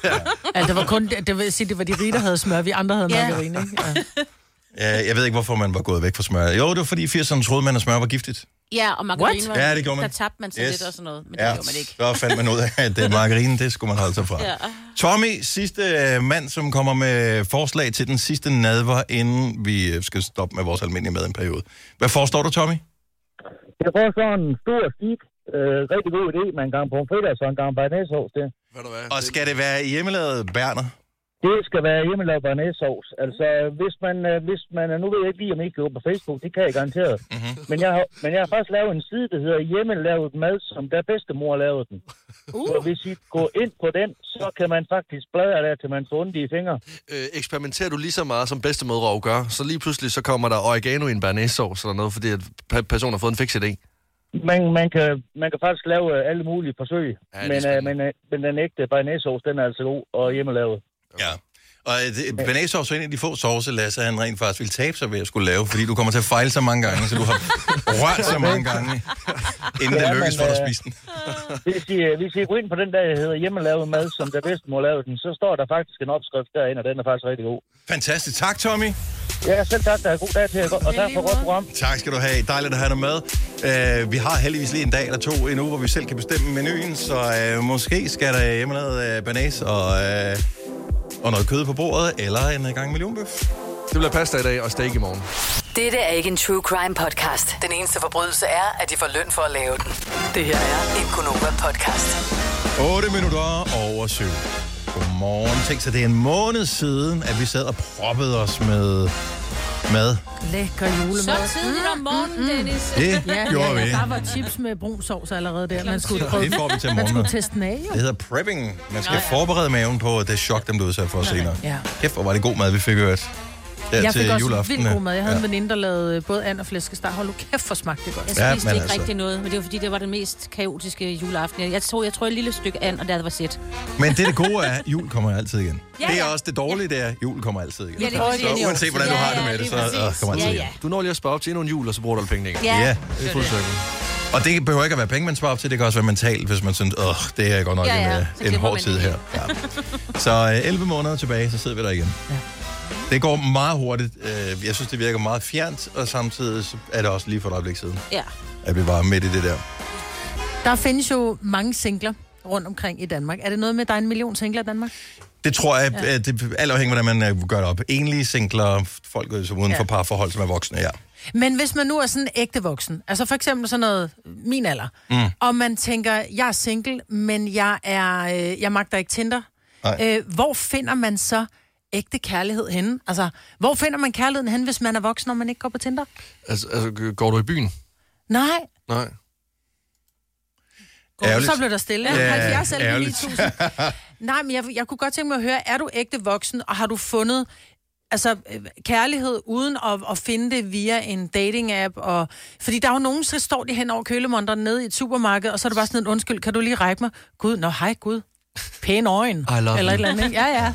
S2: Ja, Altså, det var kun, det, det vil sige, det var de rige, der havde smør, vi andre havde
S4: Ja.
S2: margarine, ikke? Ja.
S1: Ja, jeg ved ikke, hvorfor man var gået væk fra smør. Jo, det var fordi i 80'erne troede man, at smør var giftigt.
S4: ja, og margarine
S2: What?
S4: var...
S1: Ja, det gjorde man.
S4: Der tabte man sig yes. lidt og sådan noget, men det
S1: ja,
S4: gjorde man ikke.
S1: så fandt man ud af, at øh, margarine, det skulle man holde sig fra. Ja. Tommy, sidste øh, mand, som kommer med forslag til den sidste nadver, inden vi øh, skal stoppe med vores almindelige mad i en periode. Hvad forestår du, Tommy?
S9: Jeg får sådan en stor stik, øh, rigtig god idé med en gang pomfritter og så en gang bernæssovs til.
S3: Ved du hvad?
S1: Og skal det være hjemmelavet berner?
S9: Det skal være hjemmelavet bernæssovs. Altså, hvis man, øh, hvis man, nu ved jeg ikke lige, om I kan gå på Facebook, det kan jeg garanteret. Mm-hmm. Men, jeg har, men jeg har faktisk lavet en side, der hedder hjemmelavet mad, som der bedstemor lavede den. Uh. Og hvis I går ind på den, så kan man faktisk bladre der, til man får ondt i fingre.
S3: Øh, eksperimenterer du lige så meget, som bedstemødre gør, så lige pludselig så kommer der oregano i en bearnaisesauce eller noget, fordi at pe- personen har fået en fix idé.
S9: Man, man, kan, man kan faktisk lave øh, alle mulige forsøg,
S3: Ja, det er
S9: men, øh,
S3: spændende.
S9: men, øh, men den ægte bernæssovs, den er altså god og hjemmelavet.
S1: Ja. Og øh, banasauce er en af de få sauce, Lasse, han rent faktisk vil tabe sig ved at skulle lave, fordi du kommer til at fejle så mange gange, så du har rørt så mange gange, inden det
S9: Ja,
S1: lykkes for
S9: men,
S1: dig at
S9: øh,
S1: spise den.
S9: Hvis I, øh, hvis I går ind på den der, der hedder hjemmelavet mad, som der bedste må lave den, så står der faktisk en opskrift derinde, og den er faktisk rigtig god.
S1: Fantastisk. Tak, Tommy.
S9: Ja, selv tak. Der er god dag til jer, og tak for godt program.
S1: Tak skal du have. Dejligt at have dig med. Uh, vi har heldigvis lige en dag eller to endnu, hvor vi selv kan bestemme menuen, så uh, måske skal der hjemmelavet uh, banas og, uh, og noget kød på bordet, eller en øh, gang millionbøf.
S3: Det bliver pasta i dag og steak i morgen.
S6: Dette er ikke en true crime podcast. Den eneste forbrydelse er, at de får løn for at lave den. Det her er en Gunova-podcast.
S1: 8 minutter over 7. Godmorgen. Tænk så, det er en måned siden, at vi sad og proppede os med mad.
S2: Lækker
S4: Så
S2: julemad.
S4: tidligt om
S2: mm,
S4: morgenen, Dennis.
S1: Det
S2: Ja,
S1: gjorde
S2: ja,
S1: vi.
S2: der var chips med brun sovs allerede der. Man skulle prøve,
S1: Det får vi til
S2: man
S1: morgen.
S2: skulle teste den af, jo.
S1: Det hedder prepping. Man skal forberede maven på det chok, dem blev udsat for senere.
S2: Ja.
S1: Kæft, hvor var det god mad, vi fik hørt. Der
S2: Jeg fik
S1: til
S2: også
S1: juleaften.
S2: vildt god mad. Jeg havde
S1: Ja.
S2: ja. en veninde, der lavede øh, både and og flæskesteg. Hold nu kæft, for smagte det godt.
S4: Jeg
S1: Ja,
S4: spiste
S1: men
S4: ikke
S1: altså.
S4: altså. rigtig noget, men det var fordi, det var den mest kaotiske juleaften. Jeg- Jeg tror, jeg tror et lille stykke an, og der var sæt.
S1: Men det, det gode er, at jul kommer altid igen.
S4: Ja,
S1: Det er
S4: ja.
S1: også det dårlige, det er, at jul kommer altid igen.
S4: Ja, det er præcis.
S1: så uanset hvordan du
S4: Ja,
S1: har det
S4: ja,
S1: med det,
S4: lige
S1: så øh,
S4: præcis.
S1: kommer altid
S4: Ja,
S1: igen.
S4: ja.
S3: Du når lige at spare op til endnu en jul, og så bruger du alle pengene igen.
S1: Ja.
S3: Det er fuldt cirkel.
S1: Og det behøver ikke at være penge, man sparer op til. Det kan også være mentalt, hvis man synes, åh, det er godt nok
S4: Ja,
S1: ja,
S4: ja,
S1: ja. en,
S4: så
S1: øh, en
S4: klipper
S1: hård
S4: man
S1: tid
S4: det.
S1: her. Ja. Så øh, 11 måneder tilbage, så sidder vi der igen. Ja. Det går meget hurtigt. Øh, Jeg synes, det virker meget fjernt, og samtidig så er det også lige for et øjeblik siden,
S4: Ja.
S1: at vi var midt i det der.
S2: Der findes jo mange singler rundt omkring i Danmark. Er det noget med, at der er en million singler i Danmark?
S1: Det tror jeg, ja. det, alt afhængig af, hvordan man øh, gør det op. Enlige singler, folk øh, så uden ja. for parforhold, som er voksne, ja. Mm.
S2: Men hvis man nu er sådan ægte voksen, altså for eksempel sådan noget min alder, mm. og man tænker, jeg er single, men jeg, er, øh, jeg magter ikke Tinder,
S1: Nej.
S2: øh, hvor finder man så ægte kærlighed henne? Altså, hvor finder man kærligheden henne, hvis man er voksen, og man ikke går på Tinder?
S3: Altså, altså, går du i byen?
S2: Nej,
S3: Nej.
S2: Ærligt.
S1: Ærgerligt.
S2: så blev der stille.
S1: Ja,
S2: Ja, 70 11
S1: ærgerligt.
S2: 9000. Nej, men jeg, jeg kunne godt tænke mig at høre, er du ægte voksen, og har du fundet altså, øh, kærlighed uden at, at finde det via en dating-app? Og, fordi der er jo nogen, så står de hen over kølemonderen nede i et supermarked, og så er det bare sådan en undskyld, kan du lige række mig? Gud, nå hej Gud, pæne øjne.
S3: I love
S2: eller
S3: you.
S2: et eller andet, ikke? Ja, ja.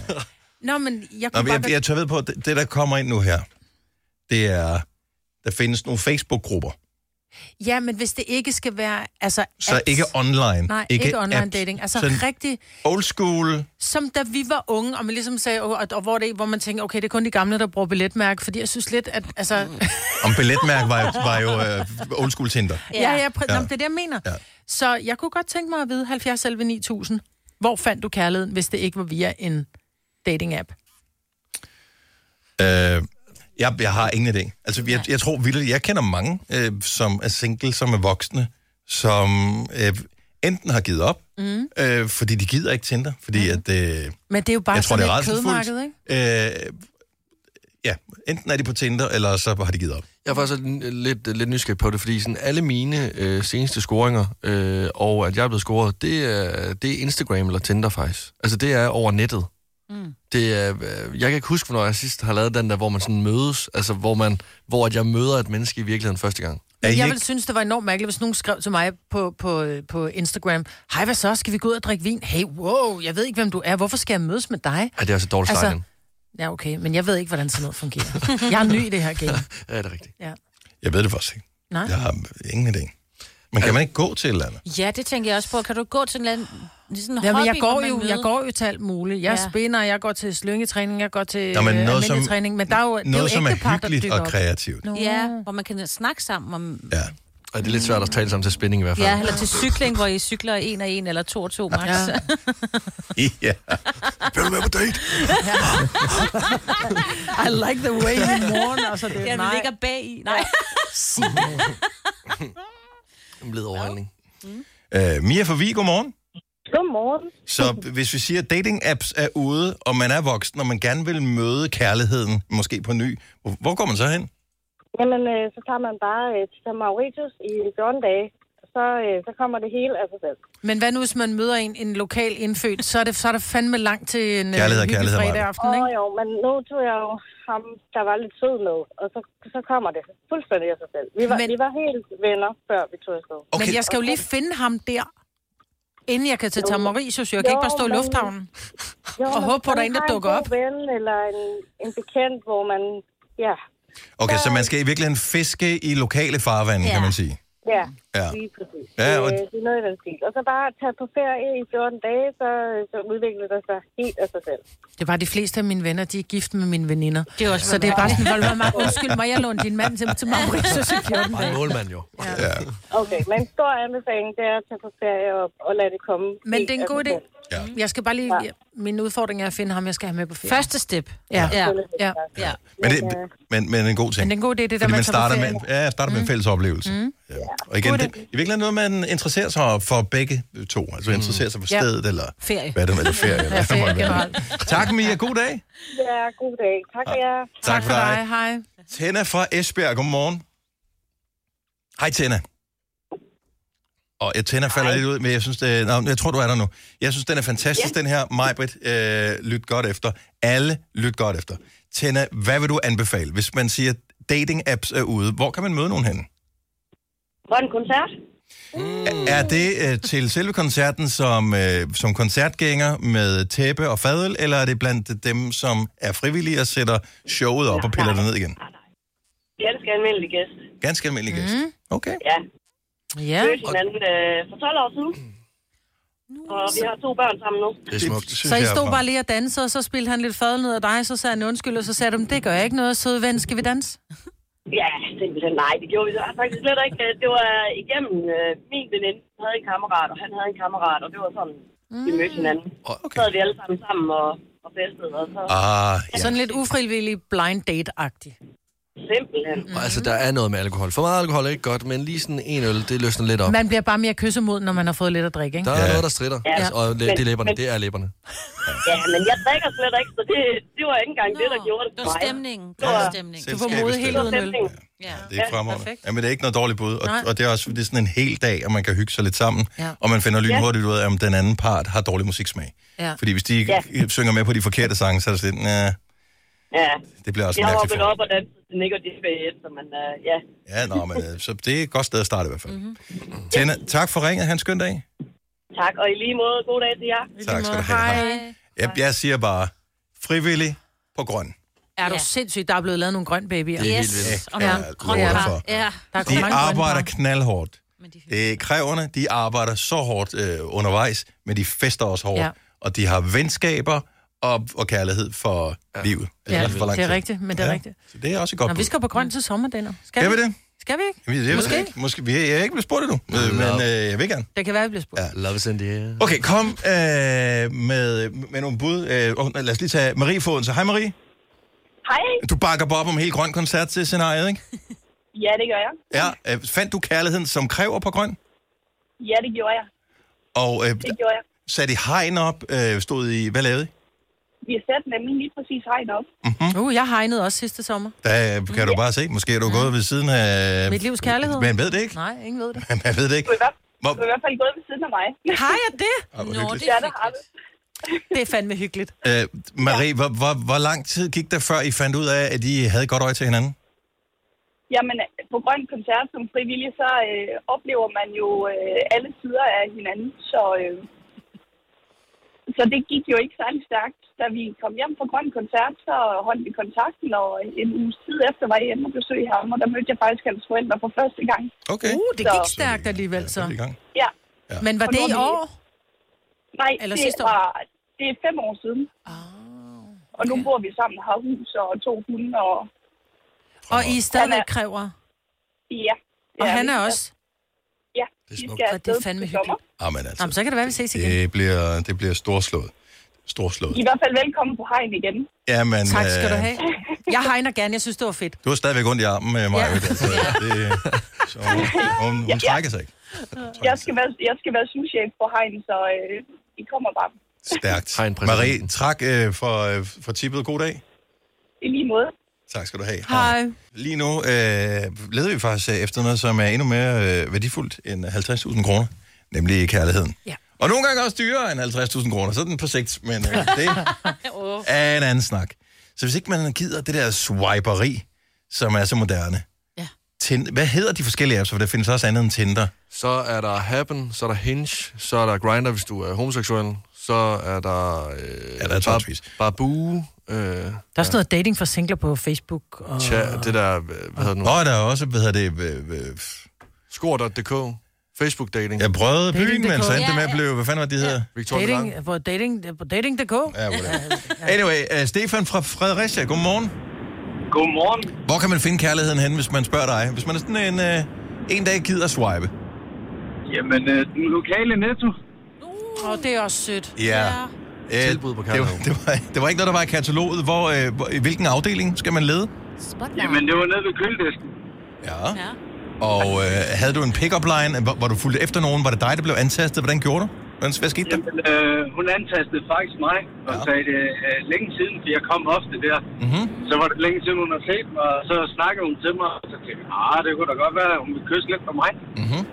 S2: Nå, men jeg
S1: Nå,
S2: kunne
S1: men
S2: Nå,
S1: jeg,
S2: bare...
S1: jeg tør ved på, at det, det, der kommer ind nu her, det er, der findes nogle Facebook-grupper,
S2: Ja, men hvis det ikke skal være altså,
S1: Så
S2: apps.
S1: ikke online.
S2: Nej, ikke, ikke online
S1: apps.
S2: dating. Altså
S1: Sådan
S2: rigtig...
S1: old school.
S2: som da vi var unge, og man ligesom sagde, og, og, og hvor, det, hvor man tænker, okay, det er kun de gamle, der bruger billetmærke, fordi jeg synes lidt, at, altså,
S1: Om billetmærk var, jo- var jo øh, old school Tinder.
S2: ja, ja, præ- ja. Nå, men det er det, jeg mener. Ja. Så jeg kunne godt tænke mig at vide, 70 11 9000, hvor fandt du kærligheden, hvis det ikke var via en dating-app?
S1: Øh, Jeg, jeg har ingen idé. Altså, jeg, jeg tror vildt, jeg kender mange, øh, som er single, som er voksne, som øh, enten har givet op, mm. øh, fordi de gider ikke Tinder, fordi
S2: Mhm.
S1: mm. at, øh,
S2: Men det er jo bare
S1: jeg tror, det
S2: sådan
S1: er
S2: et kødmarked, ikke?
S1: ikke? Øh, ja, enten er de på Tinder, eller så har de givet op.
S3: Jeg er faktisk lidt, lidt, lidt nysgerrig på det, fordi sådan alle mine øh, seneste scoringer, øh, og at jeg er blevet scoret, det er, det er Instagram eller Tinder faktisk. Altså det er over nettet. Mm. Det er, øh, jeg kan ikke huske, hvornår jeg sidst har lavet den der, hvor man sådan mødes, altså hvor, man, hvor at jeg møder et menneske i virkeligheden første gang.
S1: Er I
S2: Jeg
S1: ikke,
S2: ville synes, det var enormt mærkeligt, hvis nogen skrev til mig på, på, på Instagram, hej, hvad så, skal vi gå ud og drikke vin? Hey, wow, jeg ved ikke, hvem du er, hvorfor skal jeg mødes med dig?
S3: Ej, det er altså dårligt
S2: Altså-
S3: altså... Starten.
S2: Ja, okay, men jeg ved ikke, hvordan sådan noget fungerer. jeg er ny i det her game.
S3: Ja, det er rigtigt.
S2: Ja.
S1: jeg ved det faktisk ikke.
S2: Nej.
S1: Jeg har ingen idé. Men
S3: Altså-
S1: kan man ikke gå til et eller andet?
S4: Ja, det tænker jeg også på. Kan du gå til en eller anden sådan en
S2: Ja, men
S4: hobby,
S2: jeg går,
S4: hvor man
S2: jo, jeg
S4: møder-
S2: går jo til alt muligt. Jeg ja.
S4: Ja.
S2: spinner, jeg går til slyngetræning, jeg går til
S1: Nå, men
S2: øh,
S1: noget,
S2: almindelig
S1: som-
S2: træning, men der er jo, det er jo
S1: Noget, som er
S2: ægtepar, der
S1: hyggeligt
S2: dykker
S1: og
S2: op.
S1: kreativt.
S2: Nå.
S4: Ja, hvor man kan snakke sammen om...
S1: Ja.
S3: Og det er lidt svært at tale sammen til spænding i hvert fald.
S4: Ja, eller til cykling, hvor I cykler en og en, eller to og to max. Ja.
S1: ja.
S5: Vil du være på date?
S2: I like the way you mourn, og så det
S4: Ja,
S2: er
S4: vi
S2: nej.
S4: ligger bag i. Nej.
S3: En blid overholdning.
S8: Mm.
S1: Øh, Mia fra Vig, godmorgen.
S10: Godmorgen.
S1: Så hvis vi siger, at dating-apps er ude, og man er voksen, og man gerne vil møde kærligheden, måske på ny, hvor- hvor går man så hen?
S10: Jamen, øh, så tager man bare øh, til San Mauritius i 14 dage. Så, øh, så kommer det hele af sig selv.
S2: Men hvad nu, hvis man møder en, en lokal indfødt, så er, det, så er der fandme langt til en øh,
S1: Kærlighed og
S2: hyggelig
S1: kærlighed,
S2: fredag
S1: Maja.
S2: aften,
S10: Åh
S2: ikke?
S10: oh, jo, men nu tog jeg jo ham, der var lidt sød med, og så, så kommer det fuldstændig af sig selv. Vi var,
S2: Men-
S10: men... vi var helt venner, før vi tog afsted.
S2: Okay. Men jeg skal jo lige finde ham der, inden jeg kan til Tamarisius. Jeg kan
S10: Jo,
S2: ikke bare stå i
S10: men-
S2: lufthavnen.
S10: Jo,
S2: Og
S10: men
S2: håbe på, at der er
S10: man
S2: en, der
S10: har
S2: dukker
S10: god
S2: op.
S10: Ven, eller en, en bekendt, hvor man... Ja,
S1: Okay, så man skal i virkeligheden fiske i lokale farvande, ja. kan man sige.
S10: ja,
S1: Ja.
S10: lige præcis.
S1: Ja,
S10: Det,
S1: og-
S10: øh, Det er noget i den stil. Og så bare tage på ferie i 14 dage, så, øh, så udvikler det sig helt af sig selv.
S2: Det er bare de fleste af mine venner, de er gift med mine veninder.
S4: Det er også
S2: Så det er bare sådan, hvor meget meget undskyld mig, jeg lånte din mand til, til Mauritius i 14
S3: Bare en
S2: dage.
S3: målmand jo. Ja.
S1: Ja.
S10: Okay, men en stor anbefaling, det er at tage på ferie og, og lade det komme.
S2: Men det er en
S10: helt
S2: god
S10: af sig
S2: idé.
S10: selv.
S1: Ja.
S2: Jeg skal bare lige... Min udfordring er at finde ham, jeg skal have med på ferie.
S4: Første step.
S2: Ja.
S4: Ja.
S2: ja.
S4: ja.
S1: Men, det,
S10: øh,
S1: men, men en god
S2: Men
S1: ting.
S2: det er en god idé, det der
S1: Fordi
S2: med
S1: man
S2: at tage på
S1: starter med,
S2: ferie.
S1: ja, jeg starter med en fælles oplevelse. Mm. Ja. Og igen, det, i virkeligheden noget, man interesserer sig for begge to. Altså interesserer sig for
S2: Mm. Ja.
S1: stedet, eller
S4: Ferie.
S1: hvad det er, eller ferie. eller
S2: Ja,
S1: hvad det måtte
S2: ferie
S1: være.
S2: generelt.
S1: Tak, Mia. God dag.
S10: Ja, god dag. Tak for jer.
S2: Tak for dig. Hej.
S1: Tænna fra Esbjerg. Godmorgen. Hej, Tænna. Og jeg tænder falder lidt ud, men jeg synes, det, nå, jeg tror, du er der nu. Jeg synes, den er fantastisk, ja. den her. Majbrit, øh, lyt godt efter. Alle lyt godt efter. Tænder, hvad vil du anbefale, hvis man siger, dating-apps er ude? Hvor kan man møde nogen henne?
S10: Grøn koncert.
S1: Mm. Er det øh, til selve koncerten som, øh, som koncertgænger med tæppe og fadel, eller er det blandt dem, som er frivillige og sætter showet op og piller det ned igen?
S10: Ganske almindelig gæst.
S1: Ganske almindelig gæst. Okay.
S10: Ja,
S2: Ja.
S10: mødte hinanden øh, for 12 år siden. Og vi har to børn sammen nu.
S3: Det er smukt.
S1: synes
S2: Så I
S1: jeg er
S2: stod
S1: flot.
S2: bare lige og dansede, og så spildte han lidt fad ned af dig, så sagde han undskyld, og så sagde du, det gør jeg ikke noget, søde ven, skal vi danse?
S10: Ja, simpelthen nej, det gjorde vi så faktisk slet ikke. Øh, Det var igennem øh, min veninde, hun havde en kammerat, og han havde en kammerat, og det var sådan, vi
S2: Mm.
S10: mødte hinanden.
S3: Åh, okay.
S10: Så havde vi alle sammen sammen og, og festede, og så
S1: Ah,
S2: Ja. Sådan lidt ufrivillig blind date-agtig.
S10: simpelthen.
S3: Og altså, der er noget med alkohol. For meget alkohol er ikke godt, men lige sådan en øl, det løsner lidt op.
S2: Mm. Man bliver bare mere kyssemod, når man har fået lidt at drikke, ikke?
S3: Der er
S1: Ja.
S3: ja. noget, der strider. Ja. Altså, og det, det er læberne. Det er læberne.
S10: Ja, men jeg drikker slet ikke, så det, det var ikke engang det, der gjorde det
S4: Det
S10: for
S4: var
S10: mig.
S4: stemningen. Det var stemningen.
S2: Du får modet helt uden øl.
S10: Stemningen.
S4: Ja.
S1: Det er fremragende.
S2: perfekt.
S1: Ja, men det er ikke noget dårligt bud, og,
S2: Nej.
S1: og det er også det er sådan en hel dag, og man kan hygge sig lidt sammen,
S2: Ja.
S1: og man finder lynhurtigt ud af, om den anden part har dårlig musiksmag.
S2: Ja.
S1: Fordi hvis de ikke synger med på de forkerte sange, så er det sådan, nah,
S10: Ja,
S1: det bliver også
S10: jeg
S1: mærkeligt.
S10: hoppede
S1: for-
S10: op og dansede til Nick og Disney efter, men øh, ja,
S1: Ja, nå, men øh, så det er et godt sted at starte i hvert fald.
S2: Mhm.
S1: Mm-hmm. Tænne, tak for ringet. Han skøn dag.
S10: tak. Og i lige måde, god dag til jer.
S1: Tak skal du have.
S2: Hej.
S1: Jeg, jeg siger bare, frivillig på grøn.
S2: Er du
S4: Ja.
S2: sindssygt, der er blevet lavet nogle grøn babyer?
S3: Det er
S4: Yes.
S3: helt vildt.
S4: Og
S1: Ja,
S4: man-
S1: jeg
S4: grøn
S1: lover
S4: kar.
S1: for.
S4: Ja.
S2: Der er
S1: De
S2: mange grønne
S1: arbejder
S2: par.
S1: knaldhårdt.
S4: Men de hygger.
S1: Det er kræverne, de arbejder så hårdt øh, undervejs, men de fester også hårdt. Ja.
S2: Ja.
S1: Og de har venskaber og, og kærlighed for ja. livet. Altså,
S2: Ja,
S1: for lang
S2: det er
S1: tid.
S2: rigtigt, men det er
S1: Ja.
S2: rigtigt.
S1: Så det er også et godt
S2: Nå,
S1: bud.
S2: vi skal på grøn til sommer, Denner.
S1: Skal
S2: Skal
S1: vi
S2: vi?
S1: det?
S2: Skal vi ikke?
S1: Jamen, Jeg, Måske.
S2: Måske.
S1: Ikke. Måske. Jeg, jeg er ikke blevet spurgt endnu, øh, men øh, jeg vil gerne.
S2: Det kan være, vi bliver spurgt.
S1: Ja.
S3: Love is in the air.
S1: Okay, kom øh, med, med nogle bud. Øh, og lad os lige tage Marie Foden. Så hej Marie.
S10: Hej.
S1: Du bakker bare op om helt grøn koncert til scenariet, ikke?
S10: Ja, det gør jeg.
S1: Ja. Øh, fandt du kærligheden som kræver på grøn?
S10: Ja, det gjorde jeg.
S1: Og øh,
S10: Det gjorde jeg.
S1: satte I hegn op? Øh, stod I... Hvad lavede I?
S10: Vi satte nemlig lige præcis hegn op.
S2: Mm-hmm. Uh, jeg hegnede også sidste sommer.
S1: Der øh, kan du bare se. Måske er du gået ved siden af...
S2: Mm. Mit livs kærlighed.
S1: Man ved det ikke.
S2: Nej, ingen ved det.
S1: Man ved det ikke.
S10: Du er i hvert fald gået ved siden af mig.
S2: Har jeg det?
S1: Ej, hvor Nå, hyggeligt. det
S10: Ja,
S1: er
S10: det har du.
S2: Det er fandme hyggeligt.
S1: Øh, Marie, hvor, hvor, hvor lang tid gik der, før I fandt ud af, at I havde et godt øje til hinanden?
S10: Jamen, på Grøn Koncert som frivillig, så øh, oplever man jo øh, alle sider af hinanden. Så, øh, så det gik jo ikke særlig stærkt. Da vi kom hjem fra Grøn Koncert, så holdt vi kontakten, og en uges tid efter var jeg hjemme og besøgte ham, og der mødte jeg faktisk hans forældre for første gang.
S1: Okay.
S2: Uh, det gik stærkt alligevel, så.
S10: Ja.
S1: ja.
S2: Men var
S10: Og
S2: det
S10: nu
S2: i
S10: er vi-
S2: år?
S10: Nej,
S2: Eller
S10: Eller det,
S2: sidste år? Ah.
S10: var, det er fem år siden. Oh, okay. Og nu bor vi sammen og har hus og to hunde, og
S2: Og I er stadigvæk kræver.
S10: ja.
S2: Og
S10: Ja,
S2: han er
S10: vi-
S2: også.
S10: Ja,
S1: det
S10: vi skal
S2: Og det er
S10: afsted
S2: fandme
S10: til sommer.
S2: hyggeligt.
S1: Jamen altså,
S2: Jamen, så kan det være, vi ses igen.
S1: det bliver, det bliver storslået. Storslået.
S10: I er i hvert fald velkommen på hegn igen.
S1: Jamen,
S2: Tak skal du
S1: øh,
S2: have. Jeg hegner gerne, jeg synes, det var fedt.
S1: Du har stadigvæk ondt i armen, øh, Maja. Ja. Altså, det, så hun, hun, hun trækker sig ikke.
S10: Jeg skal være, jeg skal være souschef på hegn, så øh, I kommer bare.
S1: Stærkt. Marie, tak øh, for, øh, for tippet. God dag.
S10: I lige måde.
S1: Tak skal du have.
S2: Hej.
S1: Lige nu øh, leder vi faktisk øh, efter noget, som er endnu mere øh, værdifuldt end 50.000 kroner, nemlig kærligheden.
S2: Ja.
S1: Og nogle gange også dyrere end 50.000 kroner, så er den på sigt, men øh, det er en anden snak. Så hvis ikke man gider det der swiperi, som er så moderne.
S4: Ja.
S1: Tind- Hvad hedder de forskellige apps, for der findes også andet end Tinder?
S3: Så er der Happen, så er der Hinge, så er der Grinder, hvis du er homoseksuel, så er der... Øh, ja,
S1: der er tonsvis.
S3: Babu, øh, der
S2: Der er sådan noget dating for singler på Facebook. Og...
S3: Tja, det der, øh, hvad hedder det nu?
S1: Og der er også, hvad hedder det, øh, øh,
S3: Skor.dk, Facebook dating.
S1: jeg prøvede byen,
S2: Dating.dk.
S1: men så endte det med
S4: Ja,
S1: at blive, hvad fanden var det, de hedder?
S3: Victoria Lang.
S2: Dating, på dating, på dating.dk.
S1: Ja, whatever. Anyway, uh, Stefan fra Fredericia, godmorgen.
S7: Godmorgen.
S1: Hvor kan man finde kærligheden hen, hvis man spørger dig? Hvis man er sådan en, uh, en dag gider swipe.
S7: Jamen, øh, den lokale netto.
S2: Og det er også sødt.
S1: Ja. Øh,
S3: Tilbud på
S1: det, var,
S3: kærlighed.
S1: det, var, det var ikke noget, der var i kataloget. Hvor, øh, hvor, i hvilken afdeling skal man lede?
S7: Jamen, det var nede ved køledisken.
S1: Ja. Og øh, havde du en pick-up line? Var, var du fuldt efter nogen? Var det dig, der blev antastet? Hvordan gjorde du? Hvordan, hvad skete der?
S7: Jamen, øh, hun antastede faktisk mig og ja. sagde, det øh, længe siden, for jeg kom ofte der.
S1: Mhm.
S7: Så var det længe siden, hun har set mig, og så snakkede hun til mig, og så tænkte jeg, ah, det kunne da godt være, at hun ville kysse lidt for mig.
S1: Mhm.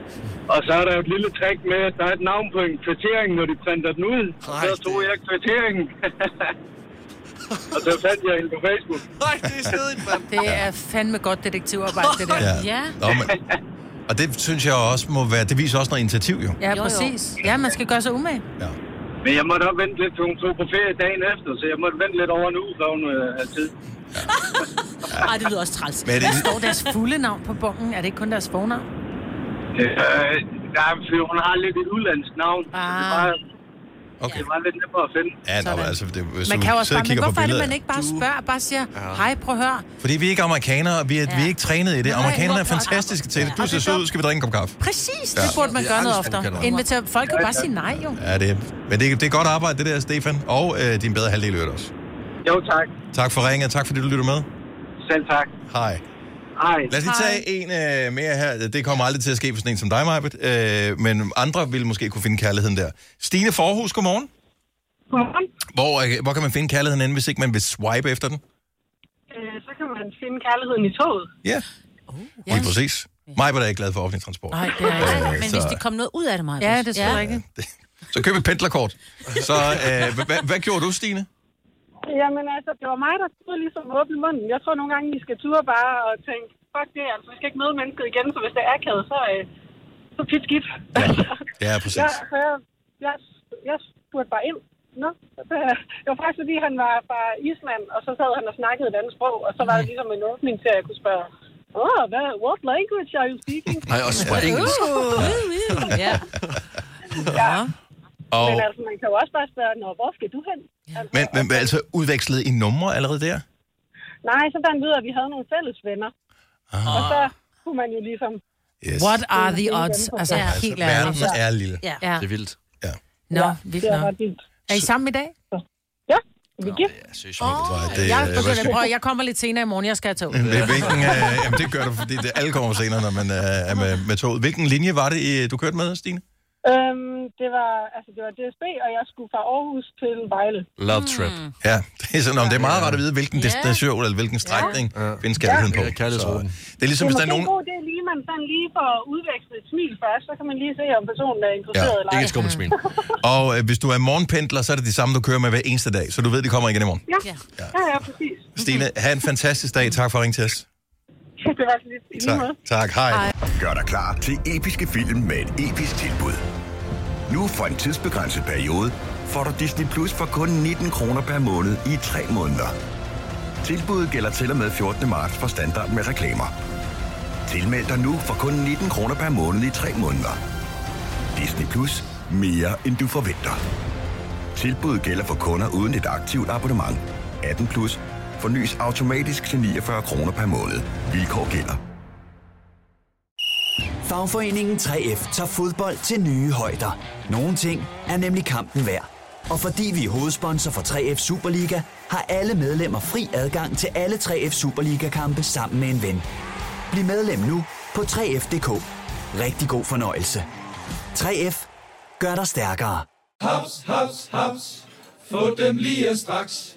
S7: Og så er der jo et lille trick med, at der er et navn på en kvittering, når de printer den ud. Og
S3: Nej,
S7: så
S3: det-
S7: tog jeg kvitteringen. og så fandt jeg hende på Facebook.
S3: Nej, det er stedigt, mand.
S2: Det er fandme godt detektivarbejde, det der. Ja,
S4: Ja.
S1: Nå, men, og det synes jeg også må være... Det viser også noget initiativ, jo.
S2: ja
S4: Jo, jo.
S2: præcis. Ja, man skal gøre sig umage.
S1: Ja.
S7: Men jeg måtte også vente lidt, for hun tog på ferie dagen efter, så jeg måtte vente lidt over en uge, før hun øh, havde tid.
S4: Ej, det lyder også træls.
S1: Men er det,
S2: Står deres fulde navn på bongen? Er det ikke kun deres fornavn?
S7: Øh, der er, for hun har lidt et udlandsk navn, ah. så det
S2: Ah.
S7: var,
S1: okay.
S7: det var lidt nemmere at finde.
S1: Ja, nå,
S2: Sådan.
S1: altså, det, hvis
S2: Man
S1: du
S2: kan jo også
S1: sidder og
S2: bare, men
S1: kigger på
S2: hvorfor er det,
S1: billeder-
S2: man ikke bare spørger, bare siger, hej, prøv at høre.
S1: Fordi vi er ikke amerikanere, og vi er, ja. vi er ikke trænet i det.
S2: Nej,
S1: Amerikanerne er
S2: hvorfor?
S1: fantastiske til det. Du
S2: Ja.
S1: ser sød ud, skal vi drikke en kop kaffe?
S2: Præcis, det burde man
S3: Ja,
S2: gøre noget
S3: det er aldrig
S2: oftere.
S3: sådan,
S2: Inviter folk kan bare sige nej, jo.
S1: Ja, det er. Men det, er- det er godt arbejde, det der, Stefan. Og øh, din bedre halvdel i øvrigt også.
S7: Jo tak.
S1: Tak for ringen, og tak fordi du lytter med.
S7: Selv tak.
S1: Hej.
S7: Hej.
S1: Lad os lige tage en øh, mere her. Det kommer aldrig til at ske for sådan en som dig, Majbet. Øh, men andre ville måske kunne finde kærligheden der. Stine Forhus, godmorgen.
S11: Godmorgen.
S1: Hvor, øh, hvor kan man finde kærligheden henne, hvis ikke man vil swipe efter den?
S11: Øh, så kan man finde kærligheden i toget.
S1: Ja,
S2: Oh. Ja.
S1: lige præcis. Majbet er ikke glad for offentlig transport.
S2: Nej, det er jeg ikke.
S1: Øh,
S4: Men hvis
S1: så,
S4: det kom noget ud af det, Maja.
S2: Ja, det tror jeg ikke.
S1: så køb et pendlerkort. Så øh, hvad, hvad- hvad gjorde du, Stine?
S11: Jamen altså, det var mig, der turde ligesom åbne munden. Jeg tror nogle gange, I skal ture bare og tænke, fuck det, altså vi skal ikke møde mennesket igen, så hvis det er akavet, så, øh, så pyt skidt. Ja,
S1: Ja, præcis.
S11: jeg, så jeg, jeg, jeg spurgte bare ind. Nå, det, det var faktisk fordi, han var fra Island, og så sad han og snakkede et andet sprog, og så var det ligesom en åbning til, at jeg kunne spørge, oh, hvad, what language are you speaking?
S3: Nej, også på engelsk.
S4: Ja.
S2: Ja.
S1: Og,
S11: Men altså, man kan jo også bare spørge, Nå, hvor skal du hen? Altså,
S1: men, men altså, udvekslede I numre allerede der?
S11: Nej, så fandt vi ud af, at vi havde nogle fælles venner. Ah. Og så kunne man jo ligesom...
S1: Yes.
S2: What are the odds? Altså,
S4: Ja.
S1: Altså,
S2: helt
S1: verden
S2: ærligt.
S1: er lille.
S4: Ja.
S2: Ja.
S3: Det er vildt.
S2: Nå, vildt
S11: Det var
S2: nok.
S11: ret vildt.
S2: Er I sammen i dag?
S11: Ja, Hvilke?
S1: Jeg synes, oh, det, var- det,
S2: Jeg,
S1: øh, hvad
S2: begynder,
S1: skal-
S2: prøv, at- jeg kommer lidt senere i morgen, jeg skal have tog.
S1: Hvilken, hvilken, øh, jamen det gør du, fordi det, alle kommer senere, når man øh, er med, med toget. Hvilken linje var det, øh, du kørte med, Stine?
S11: Øhm, det, var, altså, det var DSB, og jeg skulle fra Aarhus til Vejle.
S3: Love trip.
S1: Mm.
S2: Hmm.
S1: Ja, det er, sådan, om det er meget rart at vide, hvilken destination eller hvilken strækning ja. findes kærligheden på.
S3: Ja, kærlighedsruten.
S1: Så Det er ligesom,
S11: det
S1: hvis
S11: er måske
S1: der er nogen...
S11: en god idé lige, man sådan lige får udvekslet et smil først, så kan man lige se, om personen er interesseret eller ej.
S1: smil. Og øh, hvis du er morgenpendler, så er det de samme, du kører med hver eneste dag, så du ved, de kommer igen i morgen.
S11: Ja, ja, ja, præcis.
S1: Stine, have en fantastisk dag. Tak for at ringe til os.
S11: Det var lidt i lige
S1: Tak.
S11: måde.
S1: Tak, hej. hej.
S5: Gør dig klar til episke film med et episk tilbud. Nu for en tidsbegrænset periode får du Disney Plus for kun 19 kroner per måned i 3 måneder. Tilbuddet gælder til og med 14. marts for standard med reklamer. Tilmeld dig nu for kun 19 kroner per måned i 3 måneder. Disney Plus. Mere end du forventer. Tilbuddet gælder for kunder uden et aktivt abonnement. 18 plus. Fornyes automatisk til 49 kroner per måned. Vilkår gælder.
S12: Fagforeningen 3F tager fodbold til nye højder. Nogle ting er nemlig kampen værd. Og fordi vi er hovedsponsor for 3F Superliga, har alle medlemmer fri adgang til alle 3F Superliga-kampe sammen med en ven. Bliv medlem nu på 3F.dk. Rigtig god fornøjelse. 3F gør dig stærkere.
S13: Haps, haps, haps. Få dem lige straks.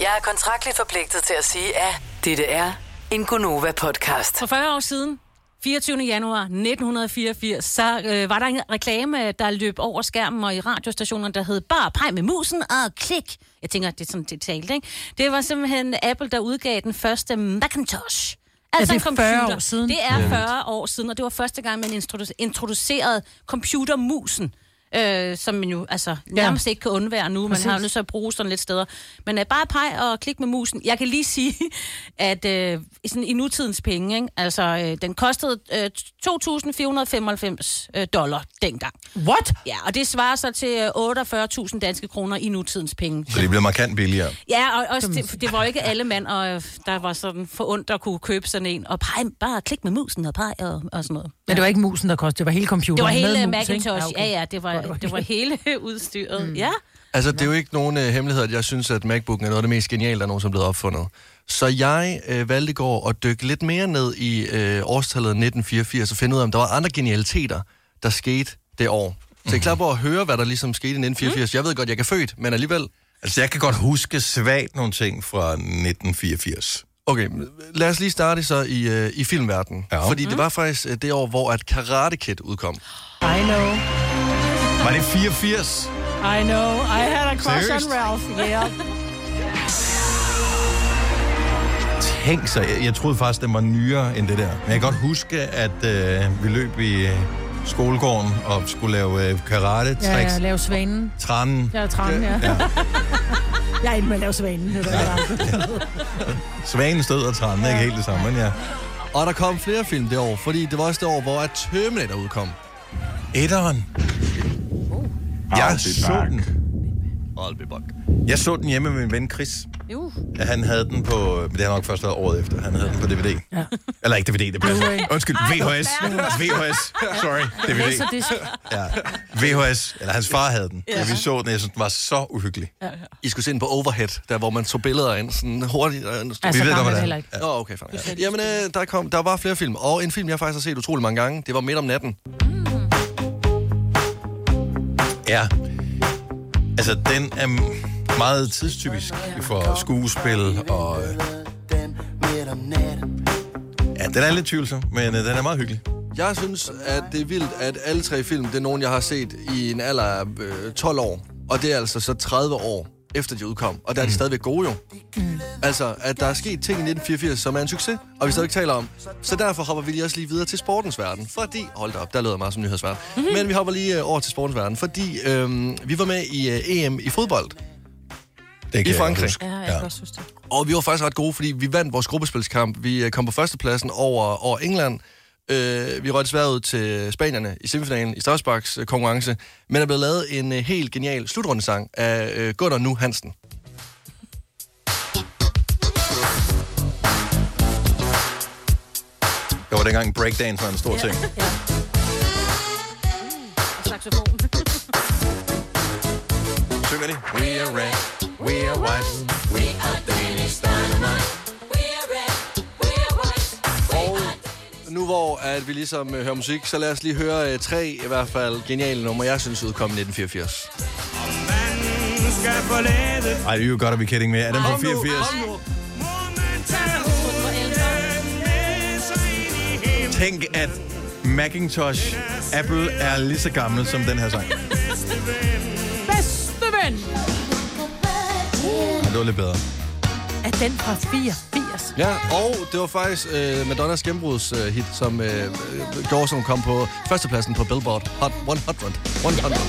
S6: Jeg er kontraktligt forpligtet til at sige, at dette er en Gonova-podcast.
S4: For 40 år siden, 24. januar 1984, så øh, var der en reklame, der løb over skærmen og i radiostationerne, der hed Bare peg med musen og klik. Jeg tænker, det er sådan, det talte, ikke? Det var simpelthen Apple, der udgav den første Macintosh. Altså
S2: Er
S4: en
S2: det 40
S4: computer.
S2: år siden?
S4: Det
S2: Ja.
S4: er 40 år siden, og det var første gang, man introdu- introducerede computermusen. Øh, som man jo altså, nærmest ikke kan undvære nu. Man
S2: Præcis.
S4: har jo nødt til at bruge sådan lidt steder. Men øh, bare peg og klik med musen. Jeg kan lige sige, at øh, i sådan, i nutidens penge, ikke? altså øh, den kostede øh, 2.495 øh, dollar dengang.
S2: What?
S4: Ja, og det svarer så til øh, 48.000 danske kroner i nutidens penge.
S1: Så det bliver markant billigere.
S4: Ja, og også, det, det var jo ikke alle mænd, og, øh, der var sådan forundt at kunne købe sådan en. Og pege, bare klik med musen og pege og, og sådan noget.
S2: Men det var ikke musen, der kostede, det var hele
S4: Det
S2: computeren.
S4: var
S2: med
S4: hele
S2: mus,
S4: Macintosh.
S2: ikke?
S4: Ja, ja, det var, det var hele udstyret. Mm. Ja.
S3: Altså, det er jo ikke nogen øh, hemmelighed, at jeg synes, at MacBooken er noget af det mest geniale, der nogensinde er blevet opfundet. Så jeg øh, valgte i går at dykke lidt mere ned i øh, årstallet 1984 og finde ud af, om der var andre genialiteter, der skete det år. Så jeg
S1: Mhm.
S3: er klar på at høre, hvad der ligesom skete i 1984. Jeg ved godt, jeg kan født, men alligevel...
S1: Altså, jeg kan godt huske svagt nogle ting fra 1984.
S3: Okay, lad os lige starte så i, øh, i filmverdenen. Ja. Fordi
S1: Mhm.
S3: det var faktisk øh, det år, hvor at Karate Kid udkom.
S2: I know,
S1: Var det 84?
S2: I know, I had a crush
S1: Seriøst?
S2: on Ralph. Yeah.
S1: Tænk sig, jeg, jeg troede faktisk, den var nyere end det der. Men jeg kan godt huske, at øh, vi løb i øh, skolegården og skulle lave øh,
S2: Ja,
S1: karate-tricks.
S2: ja, lave svanen.
S1: Tranen,
S2: Jeg er træn, ja.
S1: Ja.
S2: Jeg er inde med at lave svanen. Det var
S1: svanen stød og tranen, ikke helt det samme, men ja.
S3: Og der kom flere film det år, fordi det var også det år, hvor at Terminator udkom. Oh.
S1: Etteren. Jeg så den.
S3: I'll be back.
S1: Jeg så den hjemme med min ven Chris.
S4: Jo.
S1: Ja, Han havde den på, men det har nok først været året efter, han havde den på DVD. Ja. Eller ikke DVD, det passer.
S2: Blu-ray.
S1: Undskyld,
S2: Ej,
S1: VHS.
S2: mærkeligt.
S1: VHS, sorry, DVD.
S2: Laserdisc.
S1: Ja. VHS, eller hans far havde den.
S3: Ja.
S1: Ja. Vi så den, jeg synes, den var så uhyggelig.
S2: Ja, ja.
S3: I skulle se den på Overhead, der hvor man tog billeder ind sådan hurtigt. Og nu-
S1: Altså, Vi ved, der der var var det. heller ikke.
S3: Ja. Nå, okay, fanden. Ja. Jamen, øh, der, kom, der var flere film, og en film, jeg faktisk har set utrolig mange gange, det var Midt om natten.
S1: Ja. Altså, den er m- meget tidstypisk for skuespil, og øh, ja, den er lidt tvivlsom, men øh, den er meget hyggelig.
S3: Jeg synes, at det er vildt, at alle tre film, det er nogen, jeg har set i en alder af øh, 12 år. Og det er altså så 30 år efter de udkom. Og der er de stadigvæk gode jo. Mm. Altså, at der er sket ting i 1984, som er en succes, og vi stadig taler om. Så derfor hopper vi lige også lige videre til sportens verden. Fordi, hold da op, der lyder meget
S1: Mhm.
S3: som nyhedsverden. Men vi hopper lige øh, over til sportens verden, fordi øhm, vi var med i øh, EM i fodbold
S1: Det kan
S3: I
S1: jeg
S3: Frankrig.
S1: huske. Ja, jeg
S4: kan også huske det.
S3: Og vi var faktisk ret gode, fordi vi vandt vores gruppespilskamp. Vi øh, kom på førstepladsen over, over England. Øh, vi røg desværre ud til Spanierne i semifinalen i Strasbourgs øh, konkurrence. Men der blev lavet en øh, helt genial slutrundesang af øh, Gunnar Nu Hansen.
S1: Der var dengang breakdance var en stor ting.
S4: Og saxofonen.
S1: Synger de? We are red, we are white,
S14: We are Danish dynamite. We are red, we are white.
S3: Og nu hvor at vi ligesom øh, hører musik, så lad os lige høre øh, tre i hvert fald geniale numre, jeg synes udkom i 1984.
S14: Skal forlade
S1: Ej, det er jo godt, at vi kidding med. Er den på 84?
S8: er
S1: Tænk, at Macintosh Apple er lige så gammel som den her sang.
S2: Bedste ven!
S1: Men det var lidt bedre.
S2: Er den fra 84?
S3: Ja, og det var faktisk øh, Madonnas gennembruds øh, hit, som øh, øh, gjorde, som kom på førstepladsen på Billboard Hot 100. 100.
S1: Det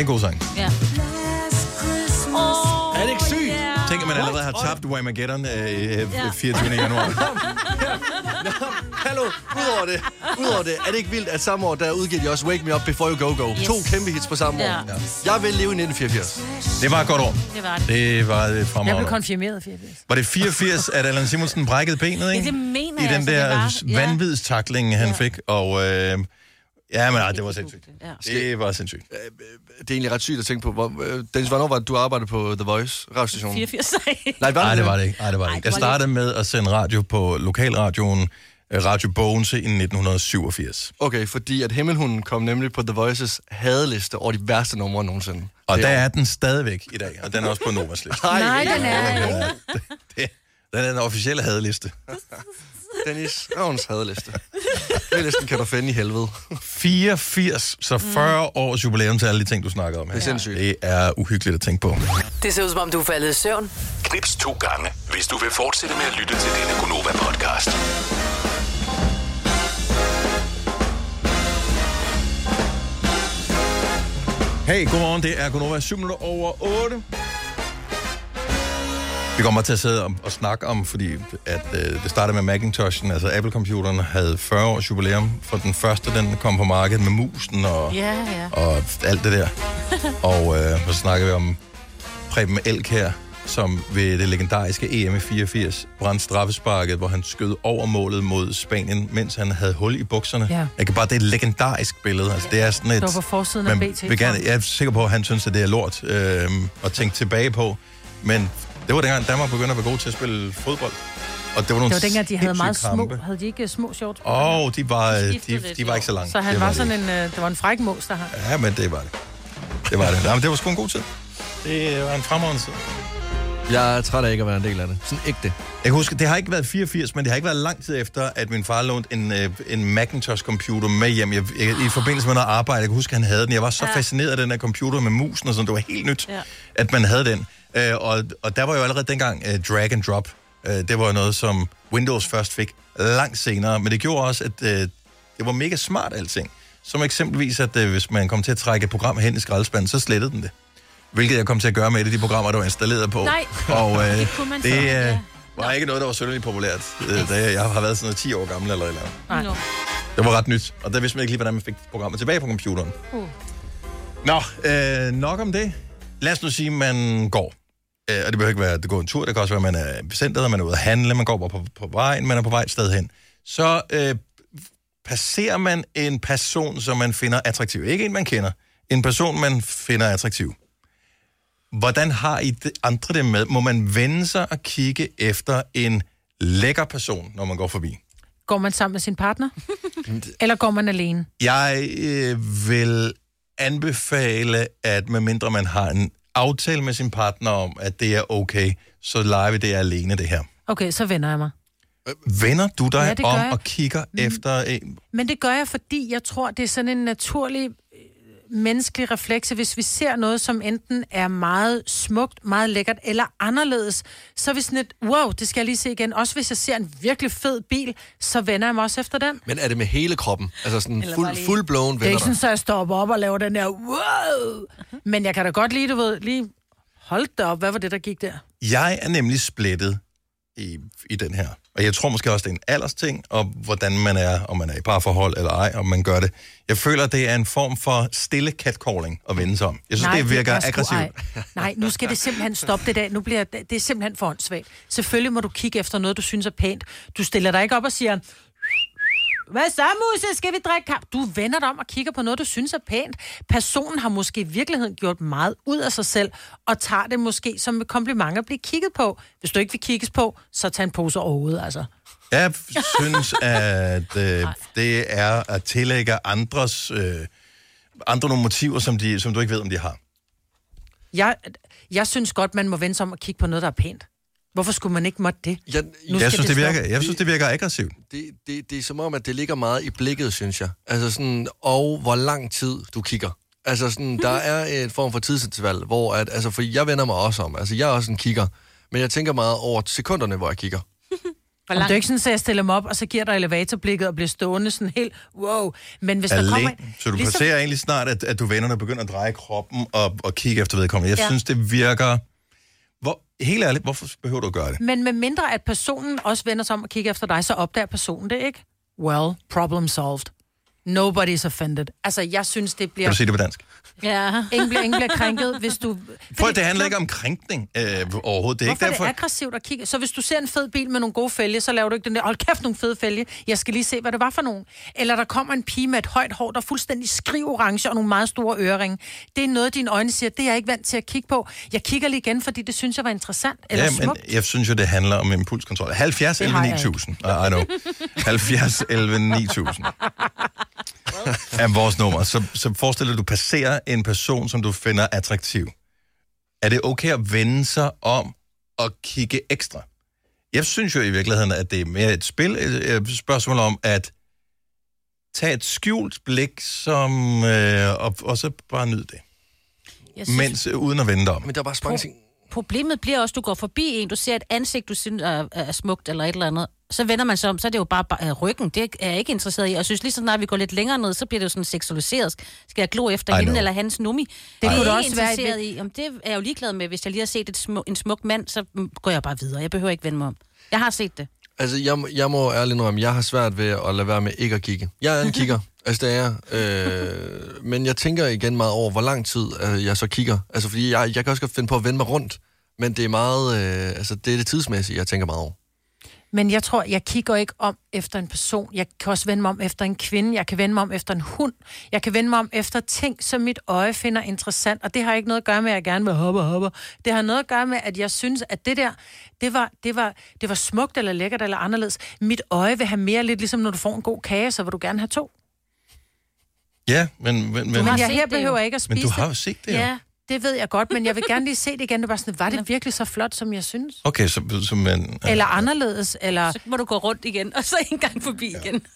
S1: er en god sang.
S4: Ja.
S14: Oh,
S3: er det ikke sygt?
S1: Yeah. Tænk, at man allerede har tabt Whamageddon øh, øh, 24. januar.
S3: Hallo, udover det, udover det, er det ikke vildt, at samme år, der udgiver de også Wake Me Up Before You Go Go. Yes. To kæmpe hits på samme
S4: Ja.
S3: år.
S4: Ja.
S3: Jeg vil leve i 1984.
S1: Det var et godt år.
S4: Det var det.
S1: Det var et
S2: Jeg blev
S1: fremragende.
S2: konfirmeret i 84.
S1: Var det 84, at Allan Simonsen brækkede benet, ikke?
S2: Ja, det mener
S1: I
S2: jeg,
S1: den
S2: altså, det
S1: der
S2: var-
S1: s- vanvidstakling, han fik. Og øh, ja, men nej, det var sindssygt. Det var sindssygt.
S3: Øh, Det er egentlig ret sygt at tænke på. Hvor, øh, Dennis, hvornår var det, du arbejdede på The Voice radiostationen?
S4: 84.
S3: Nej, var det,
S1: Nej, det var det ikke. Nej, det var det ikke. Jeg startede med at sende radio på lokalradioen øh, Radio Bogense i 1987.
S3: Okay, fordi at Himmelhunden kom nemlig på The Voices hadeliste over de værste numre nogensinde.
S1: Og
S3: Det
S1: der
S3: år.
S1: er den stadigvæk i dag, og den er også på Novas liste.
S3: Ej,
S2: Nej, den er
S1: ikke. Den er den officielle hadeliste.
S3: Dennis Ravns hadeliste. Den listen kan du finde i helvede.
S1: 84, så 40 års jubilæum til alle de ting, du snakker om her. Det er
S3: sindssygt.
S1: Det er uhyggeligt at tænke på.
S6: Det ser ud som om, du er faldet i søvn.
S15: Knips to gange, hvis du vil fortsætte med at lytte til denne Gonova-podcast.
S1: Hey, godmorgen. Det er Gunova 7 minutter over 8. Vi kommer til at sidde og, og snakke om, fordi at, øh, det startede med Macintoshen, altså Apple-computeren havde 40 års jubilæum for den første, den kom på markedet med musen og,
S4: Ja, ja.
S1: og alt det der. Og øh, så snakker vi om Preben Elk her, som ved det legendariske EM i 84 brændte straffesparket, hvor han skød over målet mod Spanien, mens han havde hul i bukserne.
S2: Ja.
S1: Jeg kan bare, det er et legendarisk billede. Altså, det er sådan et...
S2: Det var på forsiden af
S1: man
S2: BT.
S1: vil gerne, jeg er sikker på, at han synes, at det er lort øh, at tænke tilbage på. Men det var dengang Danmark begyndte at være god til at spille fodbold. Og det var nogle
S2: Det var dengang, de havde
S1: sindssyge
S2: meget
S1: kampe.
S2: små. Havde de ikke øh, små shorts? på?
S1: Åh, oh, de var,
S2: De
S1: de,
S2: skiftede
S1: de,
S2: lidt,
S1: de var ikke så lange.
S2: Så han
S1: Det
S2: var,
S1: de
S2: sådan
S1: ikke.
S2: en... Øh, det var en fræk mås, der hang.
S1: Ja, men det var det. Det var det. Nej, men det var sgu en god tid. Det var en fremragende tid.
S3: Jeg er træt af ikke at være en del af det. Sådan ægte.
S1: Jeg kan huske, det har ikke været 84, men det har ikke været lang tid efter, at min far lånte en, øh, en Macintosh-computer med hjem. Jeg, jeg, I forbindelse med noget arbejde, jeg kan huske, han havde den. Jeg var så
S5: Ja.
S1: ja. fascineret af den der computer med musen og sådan. Det var helt nyt,
S5: Ja.
S1: ja. at man havde den. Øh, og, og der var jo allerede dengang øh, drag and drop. Øh, det var jo noget, som Windows først fik langt senere. Men det gjorde også, at øh, det var mega smart alting. Som eksempelvis, at øh, hvis man kom til at trække et program hen i skraldespanden, så slettede den det. Hvilket jeg kom til at gøre med et af de programmer, der var installeret på.
S14: Nej,
S1: og øh,
S14: det
S1: det,
S14: kunne man
S1: det
S14: så,
S1: øh,
S14: ja.
S1: var ikke noget, der var synderligt populært, øh, da jeg, jeg har været sådan noget 10 år gammel eller et eller andet.
S14: Nej.
S1: Det var ret nyt, og der vidste man ikke lige, hvordan man fik programmet tilbage på computeren.
S14: Uh.
S1: Nå, øh, nok om det. Lad os nu sige, at man går. Øh, og det behøver ikke være, at det går en tur. Det kan også være, at man er i centret, man er ude at handle, man går bare på, på vejen, man er på vej et sted hen. Så øh, passerer man en person, som man finder attraktiv. Ikke en, man kender. En person, man finder attraktiv. Hvordan har I det, andre det med? Må man vende sig og kigge efter en lækker person, når man går forbi?
S2: Går man sammen med sin partner? Eller går man alene?
S1: Jeg øh, vil anbefale, at medmindre man har en aftale med sin partner om, at det er okay, så leger vi det alene, det her.
S2: Okay, så vender jeg mig.
S1: Vender du dig
S2: Ja,
S1: ja,
S2: det gør
S1: om
S2: jeg. Mhm.
S1: og kigger mm. efter en?
S2: Men det gør jeg, fordi jeg tror, det er sådan en naturlig øh, menneskelig refleks, at hvis vi ser noget, som enten er meget smukt, meget lækkert eller anderledes, så er vi sådan et, wow, det skal jeg lige se igen. Også hvis jeg ser en virkelig fed bil, så vender jeg mig også efter den.
S3: Men er det med hele kroppen? Altså sådan
S2: Eller bare
S3: fuld,
S2: lige-
S3: full blown
S2: Det er
S3: venner
S2: ikke sådan,
S3: dig?
S2: Mhm. at jeg stopper op og laver den der, wow! Men jeg kan da godt lide, du ved, lige Hold da op, hvad var det, der gik der?
S1: Jeg er nemlig splittet i, i den her. Og jeg tror måske også, det er en aldersting, og hvordan man er, om man er i parforhold eller ej, om man gør det. Jeg føler, det er en form for stille catcalling at vende sig om. Jeg synes, Nej, det virker
S2: gør sgu
S1: aggressivt.
S2: ej. Nej, nu skal det simpelthen stoppe det der. Nu bliver det er simpelthen for åndssvagt. Selvfølgelig må du kigge efter noget, du synes er pænt. Du stiller dig ikke op og siger, hvad så, Musse? Skal vi drikke kamp? Du vender dig om og kigger på noget, du synes er pænt. Personen har måske i virkeligheden gjort meget ud af sig selv, og tager det måske som et kompliment at blive kigget på. Hvis du ikke vil kigges på, så tag en pose overhovedet, altså.
S1: Jeg synes, at øh, det er at tillægge andres, øh, andre nogle motiver, som, de, som du ikke ved, om de har.
S2: Jeg, jeg synes godt, man må vende sig om og kigge på noget, der er pænt. Hvorfor skulle man ikke måtte det?
S3: Jeg,
S1: Nu jeg synes, det, virker, jeg synes,
S3: det,
S1: det virker aggressivt.
S3: det, det, det er som om, at det ligger meget i blikket, synes jeg. Altså sådan, og hvor lang tid du kigger. Altså sådan,
S1: Mhm.
S3: der er en form for tidsinterval, hvor at, altså for jeg vender mig også om. Altså jeg er også en kigger, men jeg tænker meget over sekunderne, hvor jeg kigger.
S2: Om det er ikke sådan, at jeg stiller mig op, og så giver dig elevatorblikket og bliver stående sådan helt, wow. Men hvis der kommer...
S1: Alene.
S2: en-
S1: Så du ligesom... passerer egentlig snart, at, at du vender dig og begynder at dreje kroppen og, og kigge efter vedkommende. Jeg
S2: Ja.
S1: ja. synes, det virker... Hvor, helt ærligt, hvorfor behøver du at gøre det?
S2: Men med mindre, at personen også vender sig om og kigger efter dig, så opdager personen det ikke. Well, problem solved. Nobody's offended. Altså, jeg synes, det bliver...
S1: Kan du sige det på dansk?
S2: Ja. Ingen bliver, ingen bliver krænket, hvis du...
S1: For det handler ikke om krænkning øh, overhovedet. Det er
S2: Hvorfor
S1: ikke derfor...
S2: er det aggressivt at kigge? Så hvis du ser en fed bil med nogle gode fælge, så laver du ikke den der, hold kæft, nogle fede fælge. Jeg skal lige se, hvad det var for nogen. Eller der kommer en pige med et højt hår, der er fuldstændig skrivorange og nogle meget store øreringe. Det er noget, dine øjne siger, det er jeg ikke vant til at kigge på. Jeg kigger lige igen, fordi det synes jeg var interessant eller
S1: Ja,
S2: ja,
S1: men
S2: smukt.
S1: jeg synes jo, det handler om impulskontrol. 70
S2: Det
S1: 11
S2: har jeg
S1: 9000. Ah, I know. 70 11 9000 er vores nummer. Så, så forestil dig, at du passerer en person, som du finder attraktiv. Er det okay at vende sig om og kigge ekstra? Jeg synes jo i virkeligheden, at det er mere et spil, et, et spørgsmål om at tage et skjult blik, som, øh, og, og så bare nyde det.
S4: Jeg
S1: Synes... Mens, øh, uden at vende dig om.
S3: Men der er bare så
S4: mange ting. Problemet bliver også, at du går forbi en, du ser et ansigt, du synes er, er smukt eller et eller andet. Så vender man sig om, så er det jo bare, bare øh, ryggen. Det er jeg ikke interesseret i. Og jeg synes lige så snart, vi går lidt længere ned, så bliver det jo sådan seksualiseret. Skal jeg glo efter
S2: I
S4: hende
S2: know.
S4: eller hans nummi?
S2: kunne
S4: Det er
S2: da
S4: jeg ikke
S2: også være et
S4: interesseret i. Jamen, det er jeg jo ligeglad med. Hvis jeg lige har set et smu- en smuk mand, så mm, går jeg bare videre. Jeg behøver ikke vende mig om. Jeg har set det.
S3: Altså, jeg, må- jeg må ærligt indrømme, jeg har svært ved at lade være med ikke at kigge. Jeg er en kigger, altså det er jeg. øh, Men jeg tænker igen meget over, hvor lang tid øh, jeg så kigger. Altså, fordi jeg, jeg kan også godt finde på at vende mig rundt, men det er meget, øh, altså det er det tidsmæssige, jeg tænker meget over.
S2: Men jeg tror, jeg kigger ikke om efter en person. Jeg kan også vende mig om efter en kvinde. Jeg kan vende mig om efter en hund. Jeg kan vende mig om efter ting, som mit øje finder interessant. Og det har ikke noget at gøre med, at jeg gerne vil hoppe og hoppe. Det har noget at gøre med, at jeg synes, at det der, det var, det var, det var smukt eller lækkert eller anderledes. Mit øje vil have mere, lidt ligesom når du får en god kage, så vil du gerne have to.
S1: Ja, men... men, men
S2: Men jeg her behøver ikke at spise
S1: Men du har jo set det. jo.
S2: Ja, det ved jeg godt, men jeg vil gerne lige se det igen. Det var sådan, var det virkelig så flot, som jeg synes?
S1: Okay, så, så man...
S2: Eller anderledes, eller... Så
S4: må du gå rundt igen, og så en gang forbi ja. igen.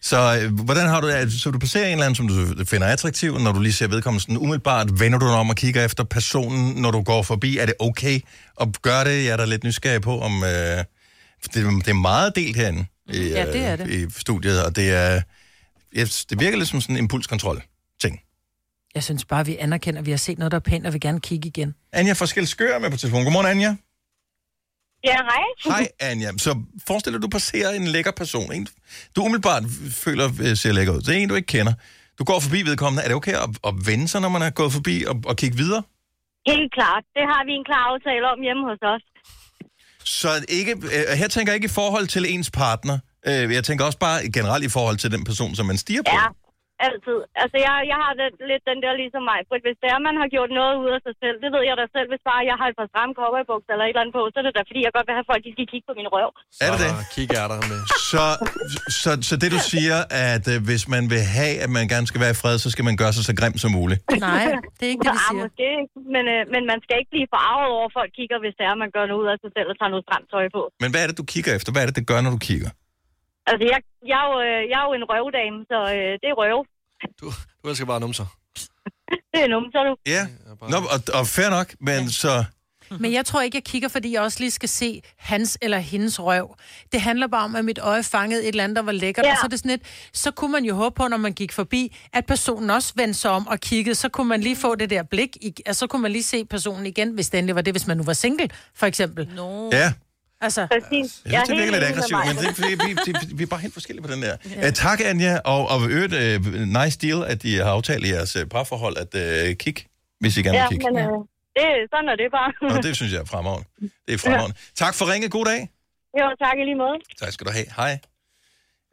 S1: Så øh, hvordan har du det? Så du passerer en eller anden, som du finder attraktiv, når du lige ser vedkommende sådan umiddelbart, vender du dig om og kigger efter personen, når du går forbi. Er det okay at gøre det? Jeg er da lidt nysgerrig på, om... Øh, for det, det er meget delt herinde i, øh,
S2: Ja, det er det.
S1: i studiet, og det er... Jeg, det virker lidt som sådan en impulskontrol-ting.
S2: Jeg synes bare, vi anerkender, at vi har set noget, der er pænt, og vil gerne kigge igen.
S1: Anja fra Skælskør er med på telefon. Godmorgen, Anja.
S16: Ja, hej.
S1: Hej, Anja. Så forestil dig, at du passerer en lækker person. En, du umiddelbart føler, øh, ser lækker ud. Det er en, du ikke kender. Du går forbi vedkommende. Er det okay at, at vende sig, når man er gået forbi, og, og kigge videre?
S16: Helt klart. Det har vi en klar aftale om hjemme hos os.
S1: Så ikke, øh, her tænker jeg ikke i forhold til ens partner. Øh, jeg tænker også bare generelt i forhold til den person, som man stiger på.
S16: Ja, altid. Altså, jeg, jeg har det, lidt den der ligesom mig. For hvis det er, man har gjort noget ud af sig selv, det ved jeg da selv. Hvis bare jeg har et par stramme cowboybukser eller et eller andet på, så er det da, fordi jeg godt vil have folk, de skal kigge på min røv.
S1: Er det det?
S3: Kigger er der med.
S1: Så, så, så det, du siger, at øh, hvis man vil have, at man gerne skal være i fred, så skal man gøre sig så grim som muligt.
S2: Nej, det er ikke det, vi
S16: siger. måske ikke, men, øh, men man skal ikke blive forarvet over, at folk kigger, hvis det er, man gør noget ud af sig selv og tager noget stramt tøj på.
S1: Men hvad er det, du kigger efter? Hvad er det, det gør, når du kigger?
S16: Altså, jeg, jeg, er, jo, øh, jeg er jo en røvdame, så øh, det er røv.
S3: Du elsker bare numser.
S16: Det er nummer, så du.
S1: Ja, Nå, og, og fair nok, men så...
S2: Men jeg tror ikke, jeg kigger, fordi jeg også lige skal se hans eller hendes røv. Det handler bare om, at mit øje fangede et eller andet, der var lækkert. Ja.
S10: Ja.
S2: Og så er det sådan lidt, så kunne man jo håbe på, når man gik forbi, at personen også vendte sig om og kiggede. Så kunne man lige få det der blik, i, og så kunne man lige se personen igen, hvis det endelig var det, hvis man nu var single, for eksempel. No.
S1: Ja,
S2: Altså,
S10: Præcis.
S1: Jeg synes, det virker lidt aggressivt, men det, er fordi, vi, det, vi er bare helt forskellige på den der.
S2: Ja.
S1: Ja. Uh, tak, Anja, og, og i øvrigt, uh, nice deal, at I har aftalt i jeres øh, parforhold at uh, kigge, hvis I gerne vil
S16: Ja,
S1: kigge.
S16: men øh, det, sådan er det bare.
S1: Og det synes jeg er fremragende. Det er fremragende. Ja. Tak for ringet. God dag.
S16: Jo, tak i lige måde.
S1: Tak skal du have. Hej.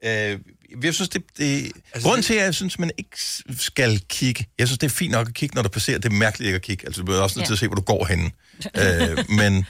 S1: Øh, jeg synes, det, det, altså, grunden til, at jeg synes, man ikke s- skal kigge, jeg synes, det er fint nok at kigge, når du passerer, det er mærkeligt ikke at kigge. Altså, du bliver også nødt til
S15: Ja.
S1: at se, hvor du går henne. øh, men,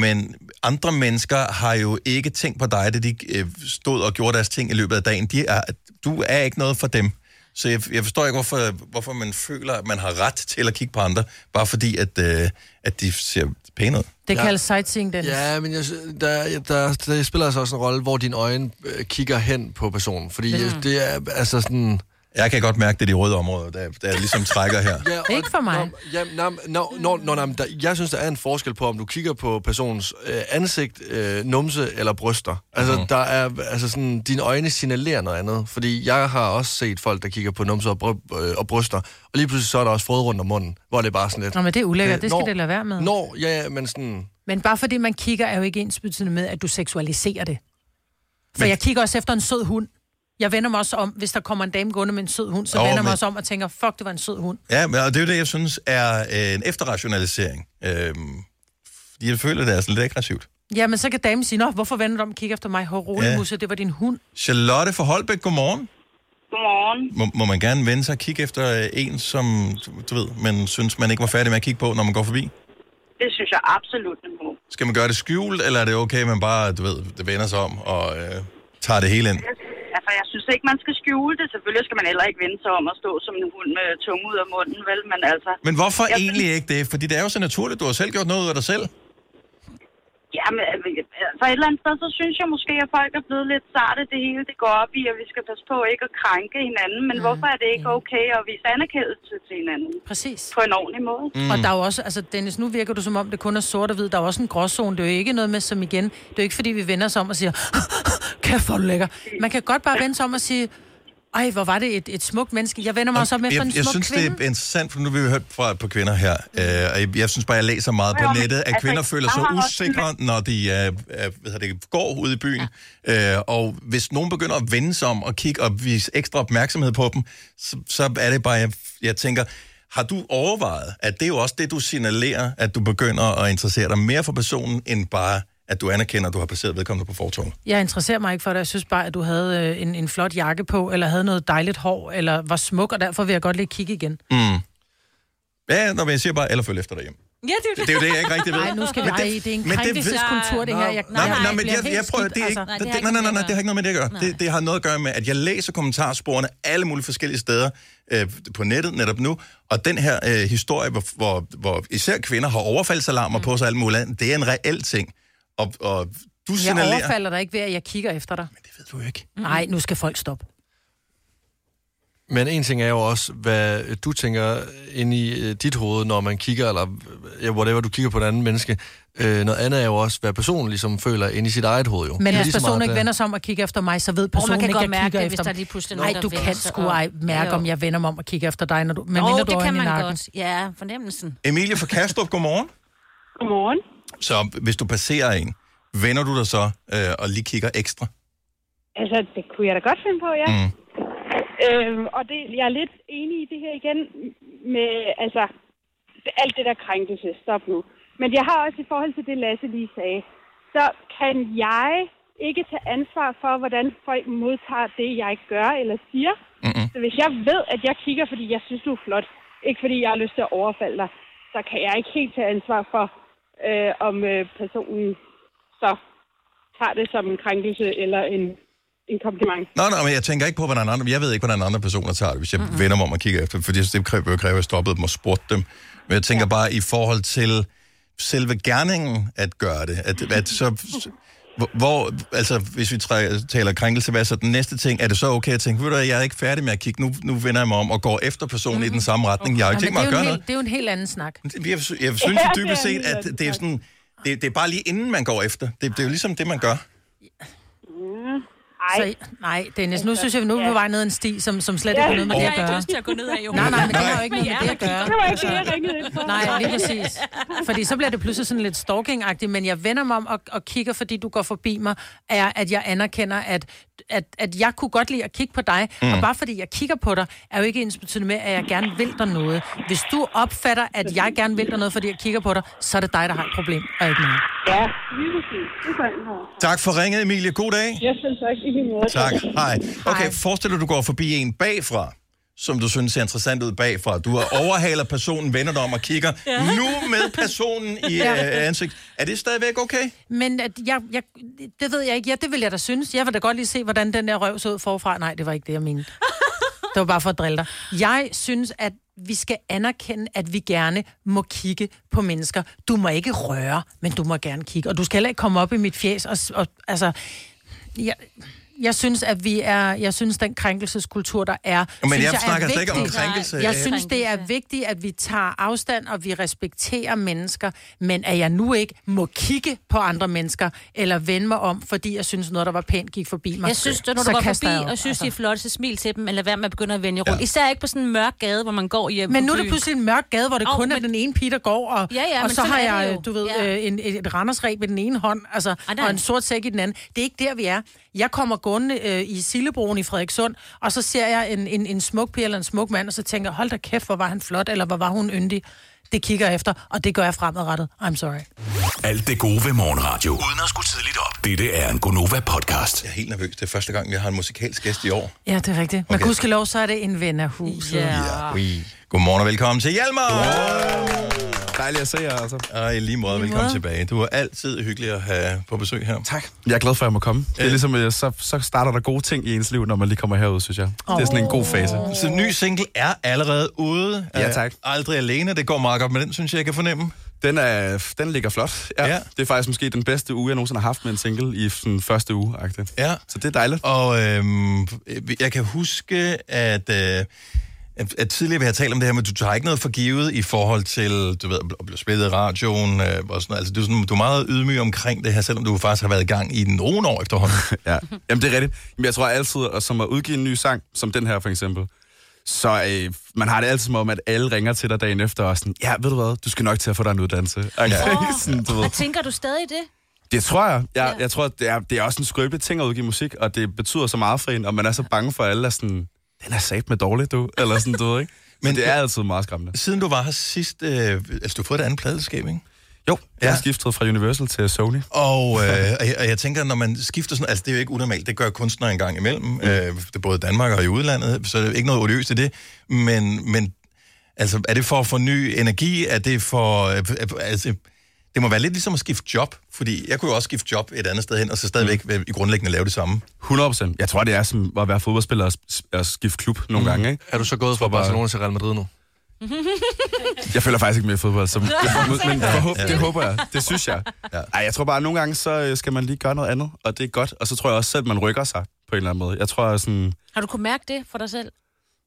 S1: men andre mennesker har jo ikke tænkt på dig, da de øh, stod og gjorde deres ting i løbet af dagen. De er, du er ikke noget for dem. Så jeg, jeg forstår ikke, hvorfor, hvorfor man føler, at man har ret til at kigge på andre, bare fordi, at, øh, at de ser pæne ud.
S2: det kaldes sightseeing, Dennis.
S3: Ja, men jeg, sy- der, der, der spiller altså også en rolle, hvor dine øjne øh, kigger hen på personen. Fordi
S2: Mhm.
S3: mm. det er altså sådan...
S1: Jeg kan godt mærke, det er de røde områder, der, der ligesom trækker her.
S3: Ja, og,
S2: Ikke for mig.
S3: Ja, nå, nå, nå, nå, nå, men der, jeg synes, der er en forskel på, om du kigger på personens øh, ansigt, øh, numse eller bryster. Altså,
S15: Mhm.
S3: mm. der er, altså sådan, dine øjne signalerer noget andet. Fordi jeg har også set folk, der kigger på numse og, bry- øh, og bryster, og lige pludselig så er der også fået rundt om munden, hvor det er bare sådan lidt...
S2: Nå, men det er ulækkert, det skal
S3: Øh, når-
S2: det lade være med.
S3: Når, ja, ja, men sådan...
S2: Men bare fordi man kigger, er jo ikke ensbetydende med, at du seksualiserer det. For men... jeg kigger også efter en sød hund. Jeg vender mig også om, hvis der kommer en dame gående med en sød hund, så
S1: Jo,
S2: vender jeg mig
S1: men-
S2: også om og tænker, fuck, det var en sød hund.
S1: Ja, men, og det er jo det, jeg synes er øh, en efterrationalisering. Øhm, fordi jeg føler, det er sådan lidt aggressivt.
S2: Jamen, så kan damen sige, nå, hvorfor vender du om og kigger efter mig? Hår rolig,
S1: Ja.
S2: musse, det var din hund.
S1: Charlotte fra Holbæk, godmorgen.
S16: Godmorgen.
S1: Må, må man gerne vende sig og kigge efter øh, en, som du ved, man synes, man ikke var færdig med at kigge på, når man går forbi?
S17: Det synes jeg absolut, man må.
S1: Skal man gøre det skjult, eller er det okay, at man bare du ved, det vender sig om og øh, tager det hele ind?
S17: Altså, jeg synes ikke, man skal skjule det. Selvfølgelig skal man heller ikke vende sig om at stå som en hund med tunge ud af munden, vel? Men altså...
S1: Men hvorfor
S17: jeg
S1: egentlig ikke det? Fordi det er jo så naturligt, du har selv gjort noget ud af dig selv.
S17: Ja, men altså, et eller andet sted, så synes jeg måske, at folk er blevet lidt sarte. Det hele, det går op i, at vi skal passe på ikke at krænke hinanden. Men hvorfor er det ikke okay at vise anerkendelse til hinanden?
S2: Præcis.
S17: På en ordentlig måde.
S2: Mm. Og der er jo også, altså Dennis, nu virker du som om, det kun er sort og hvid. Der er jo også en gråzone. Det er jo ikke noget med, som igen, det er jo ikke fordi, vi vender os om og siger, kæft, hvor er du lækker. Man kan godt bare vende sig om og sige, ej, hvor var det et, et smukt menneske. Jeg vender mig også om efter en
S1: jeg,
S2: smuk
S1: jeg synes,
S2: kvinde. Mm.
S1: det er interessant, for nu har vi jo hørt fra på kvinder her, øh, og jeg, jeg synes bare, jeg læser meget på
S2: Jo, men
S1: nettet, at
S2: altså,
S1: kvinder føler
S2: jeg
S1: sig
S2: har også-
S1: usikre, når de øh, øh, hvad hedder det, går ud i byen. Øh, og hvis nogen begynder at vende sig om og kigge og vise ekstra opmærksomhed på dem, så, så er det bare, jeg, jeg tænker, har du overvejet, at det er jo også det, du signalerer, at du begynder at interessere dig mere for personen, end bare, at du anerkender, at du har placeret vedkommende på fortorvet?
S2: Jeg interesserer mig ikke for det. Jeg synes bare, at du havde øh, en, en flot jakke på, eller havde noget dejligt hår, eller var smuk, og derfor vil jeg godt lige kigge igen.
S1: Mm. Ja, når jeg siger bare, eller følg efter dig hjem.
S2: Ja,
S1: det er jo det, jeg ikke rigtig ved.
S2: Nej, nu skal vi...
S1: Men det-
S2: Ej, det er en
S1: men det ved-
S2: krænkelseskultur, det her. Jeg,
S1: Nej, nej, nej, men
S2: bliver
S1: jeg,
S2: helt
S1: jeg prøver, det er
S2: skidt,
S1: ikke,
S2: altså.
S1: det, nej, nej, nej, nej, det har ikke noget med det at gøre. Det, det har noget at gøre med, at jeg læser kommentarsporene alle mulige forskellige steder øh, på nettet netop nu, og den her øh, historie, hvor, hvor, hvor især kvinder har overfaldsalarmer mm. på sig og alt muligt andet, det er en reel ting. Og, og du
S2: Jeg
S1: signalerer...
S2: overfalder dig ikke ved, at jeg kigger efter dig. Men det
S1: ved du ikke.
S2: Nej, nu skal folk stoppe.
S3: Men en ting er jo også, hvad du tænker ind i øh, dit hoved, når man kigger, eller ja, whatever, du kigger på et andet menneske. Øh, noget andet er jo også, hvad personen ligesom føler ind i sit eget hoved. Jo. Det er
S2: Men hvis
S3: lige så
S2: personen
S3: meget,
S2: ikke
S3: øh,
S2: vender sig om og kigger efter mig, så ved
S4: man
S2: personen
S4: kan
S2: ikke,
S4: godt
S2: at jeg
S4: mærke
S2: kigger
S4: det,
S2: efter
S4: hvis der lige pludselig er nogen,
S2: Nej, du
S4: der vender
S2: kan
S4: sig
S2: sgu
S4: om.
S2: ej mærke,
S4: Jo.
S2: om jeg vender mig om og kigger efter dig, når du, men
S4: Åh,
S2: mindre du
S4: det
S2: har
S4: kan
S2: øjnene i
S4: man
S2: nakken.
S4: godt. Ja, fornemmelsen.
S1: Emilie fra Kastrup, godmorgen.
S17: Godmorgen.
S1: Så hvis du passerer en, vender du dig så øh, og lige kigger ekstra?
S18: Altså, det kunne jeg da godt finde på, ja.
S1: Mm.
S18: Mm. Øhm, og det, jeg er lidt enig i det her igen med, altså, det- alt det der krænkelse, stop nu. Men jeg har også i forhold til det, Lasse lige sagde, så kan jeg ikke tage ansvar for, hvordan folk modtager det, jeg gør eller siger. Mm-hmm. Så hvis jeg ved, at jeg kigger, fordi jeg synes, du er flot, ikke fordi jeg har lyst til at overfalde dig, så kan jeg ikke helt tage ansvar for, øh, om øh, personen så tager det som en krænkelse eller en, en kompliment.
S1: Nå, nej, men jeg tænker ikke på, hvordan andre... Jeg ved ikke, hvordan andre personer tager det, hvis jeg mm-hmm. vender mig om og kigger efter dem, fordi det kræver jo kræve, at jeg stoppede dem og spurgte dem. Men jeg tænker ja. bare i forhold til selve gerningen at gøre det, at, at så, Hvor, hvor, altså, hvis vi træ- taler krænkelse, hvad er så den næste ting? Er det så okay at tænke, ved du hvad, jeg er ikke færdig med at kigge, nu, nu vender jeg mig om og går efter personen mm-hmm. i den samme retning. Jeg har ikke
S2: men
S1: tænkt
S2: det,
S1: mig at
S2: er jo
S1: gøre
S2: en
S1: noget.
S2: hel, det er jo en helt anden snak.
S1: Jeg, jeg synes jo
S2: Ja,
S1: dybest
S2: det er
S1: set,
S2: en
S1: at
S2: helt
S1: det er sådan... Det, det er bare lige inden man går efter. Det, det er jo ligesom det, man gør.
S2: Mm. Så, nej, Dennis, nu synes jeg, vi nu er vi på vej ned ad en sti, som, som slet ikke
S4: Altså, Ja.
S2: har noget med det
S4: Jeg
S2: at gøre.
S4: har ikke lyst til at gå ned ad, jo.
S2: Nej, nej, men det har
S4: Nej.
S2: jo ikke noget med det at gøre.
S4: Det var ikke det, jeg ringede ind for.
S2: Nej, lige præcis. Fordi så bliver det pludselig sådan lidt stalking men jeg vender mig om og, og kigger, fordi du går forbi mig, er, at jeg anerkender, at, at, at jeg kunne godt lide at kigge på dig, mm.
S19: Mm.
S2: og bare fordi jeg kigger på dig, er jo ikke ens betydende med, at jeg gerne vil dig noget. Hvis du opfatter, at jeg gerne vil dig noget, fordi jeg kigger på dig, så er det dig, der har et problem, og ikke mig.
S11: Ja, lige præcis. Det er sådan her.
S1: Tak for ringet, Emilie. God dag.
S11: Jeg synes ikke, i lige måde.
S1: Tak. Hej. Okay, forestil dig, du går forbi en bagfra, som du synes ser interessant ud bagfra. Du overhaler personen, vender dig om og kigger.
S2: Ja.
S1: Nu med personen i
S2: Ja.
S1: øh, ansigt. Er det stadigvæk okay?
S2: Men at jeg, jeg, det ved jeg ikke. Ja, det vil jeg da synes. Jeg vil da godt lige se, hvordan den der røv så ud forfra. Nej, det var ikke det, jeg mente. Det var bare for at drille dig. Jeg synes, at vi skal anerkende, at vi gerne må kigge på mennesker. Du må ikke røre, men du må gerne kigge. Og du skal heller ikke komme op i mit fjes. Og, s- og, altså, jeg, jeg synes, at vi er... Jeg synes, den krænkelseskultur, der er...
S1: Men
S2: synes
S1: jeg
S2: er
S1: snakker slet ikke om
S2: vigtig.
S1: krænkelse.
S2: Jeg
S1: Øh,
S2: synes, det er vigtigt, at vi tager afstand, og vi respekterer mennesker. Men at jeg nu ikke må kigge på andre mennesker, eller vende mig om, fordi jeg synes, noget, der var pænt, gik forbi mig.
S4: Jeg synes, når du
S2: så
S4: går
S2: kaster jeg
S4: forbi
S2: op,
S4: og synes,
S2: altså.
S4: altså. de er flotte, så smil til dem, eller hvad med at begynde at vende rundt. Især ikke på sådan en mørk gade, hvor man går hjem
S2: Men
S4: på
S2: nu er det
S4: byen.
S2: pludselig en mørk gade, hvor det
S4: Åh,
S2: oh, kun men... er
S4: men-
S2: den ene pige, der går, og,
S4: Ja, ja,
S2: og
S4: men
S2: så
S4: sådan
S2: har
S4: er det
S2: jeg,
S4: jo.
S2: du ved,
S4: Ja.
S2: ja. en, et randersreb i den ene hånd, altså,
S4: nej.
S2: og en sort sæk i den anden. Det er ikke der, vi er. Jeg kommer gående øh, i Sillebroen i Frederikssund, og så ser jeg en, en, en smuk pige eller en smuk mand, og så tænker jeg, hold da kæft, hvor var han flot, eller hvor var hun yndig. Det kigger jeg efter, og det gør jeg fremadrettet. I'm sorry.
S5: Alt det gode ved morgenradio. Uden at skulle tidligt op. Dette er en Gonova-podcast.
S1: Jeg er helt nervøs. Det er første gang, vi har en musikalsk gæst i år.
S2: Ja, det er rigtigt. Men okay. gudskelov, så er det en ven af huset.
S1: Ja. Ui. Godmorgen Ah. og velkommen til Hjalmar.
S13: Dejligt at se jer, altså.
S1: Og i lige måde, velkommen
S13: måde.
S1: tilbage. Du er altid hyggelig at have på besøg her.
S13: Tak. Jeg er glad for, at jeg må komme. Det er ligesom, øh, så, så starter der gode ting i ens liv, når man lige kommer herud, synes jeg. Det er sådan en god fase.
S1: Så ny single er allerede ude.
S13: Ja, tak.
S1: Er Aldrig alene. Det går meget godt med den, synes jeg, jeg kan fornemme.
S13: Den, er, den ligger flot. Ja, ja. Det er faktisk måske den bedste uge, jeg nogensinde har haft med en single i den første uge. -agtigt.
S1: Ja.
S13: Så det er dejligt.
S1: Og øhm, jeg kan huske, at, øh, at- at tidligere vi har talt om det her, men du tager ikke noget for givet i forhold til, du ved, at blive spillet i radioen øh, og sådan noget. Altså, du, er sådan, du er meget ydmyg omkring det her, selvom du faktisk har været i gang i nogle år efterhånden.
S13: ja. Jamen, det er rigtigt. Men jeg tror altid, og som at udgive en ny sang, som den her for eksempel, så øh, man har det altid som om, at alle ringer til dig dagen efter og sådan, ja, ved du hvad, du skal nok til at få dig en uddannelse. Okay?
S4: Åh.
S13: sådan, du ved.
S4: Og tænker du stadig det?
S13: Det tror jeg. Jeg, ja. jeg tror, det er, det er også en skrøbelig ting at udgive musik, og det betyder så meget for en, og man er så bange for at alle, er sådan, den er sat med dårlig, du, eller sådan, du ved, ikke? Men det er altid meget skræmmende.
S1: Siden du var her sidst, øh, altså du har fået et andet pladeselskab, ikke?
S13: Jo, jeg har skiftet fra Universal til Sony.
S1: Og, øh, og, jeg, og jeg tænker, når man skifter sådan, altså det er jo ikke unormalt, det gør kunstnere en gang imellem, mm. øh, det er både i Danmark og i udlandet, så det er ikke noget odiøst i det, men, men altså, er det for at få ny energi, er det for, øh, øh, altså, det må være lidt ligesom at skifte job, fordi jeg kunne jo også skifte job et andet sted hen, og så stadigvæk mm. i grundlæggende lave det samme.
S13: 100 procent. Jeg tror, det er som at være fodboldspiller og, s- og skifte klub nogle
S1: Mm.
S13: gange, ikke?
S1: Er du så gået
S13: Jeg tror
S1: fra
S13: bare-
S1: Barcelona
S13: til Real Madrid nu? Jeg føler faktisk ikke mere fodbold, så, men, men
S1: Ja,
S13: forhåb,
S1: ja.
S13: det håber jeg. Det synes jeg. Ej, jeg tror bare, at nogle gange, så øh, skal man lige gøre noget andet, og det er godt. Og så tror jeg også selv, at man rykker sig på en eller anden måde. Jeg tror sådan,
S4: Har du kunne mærke det for dig selv?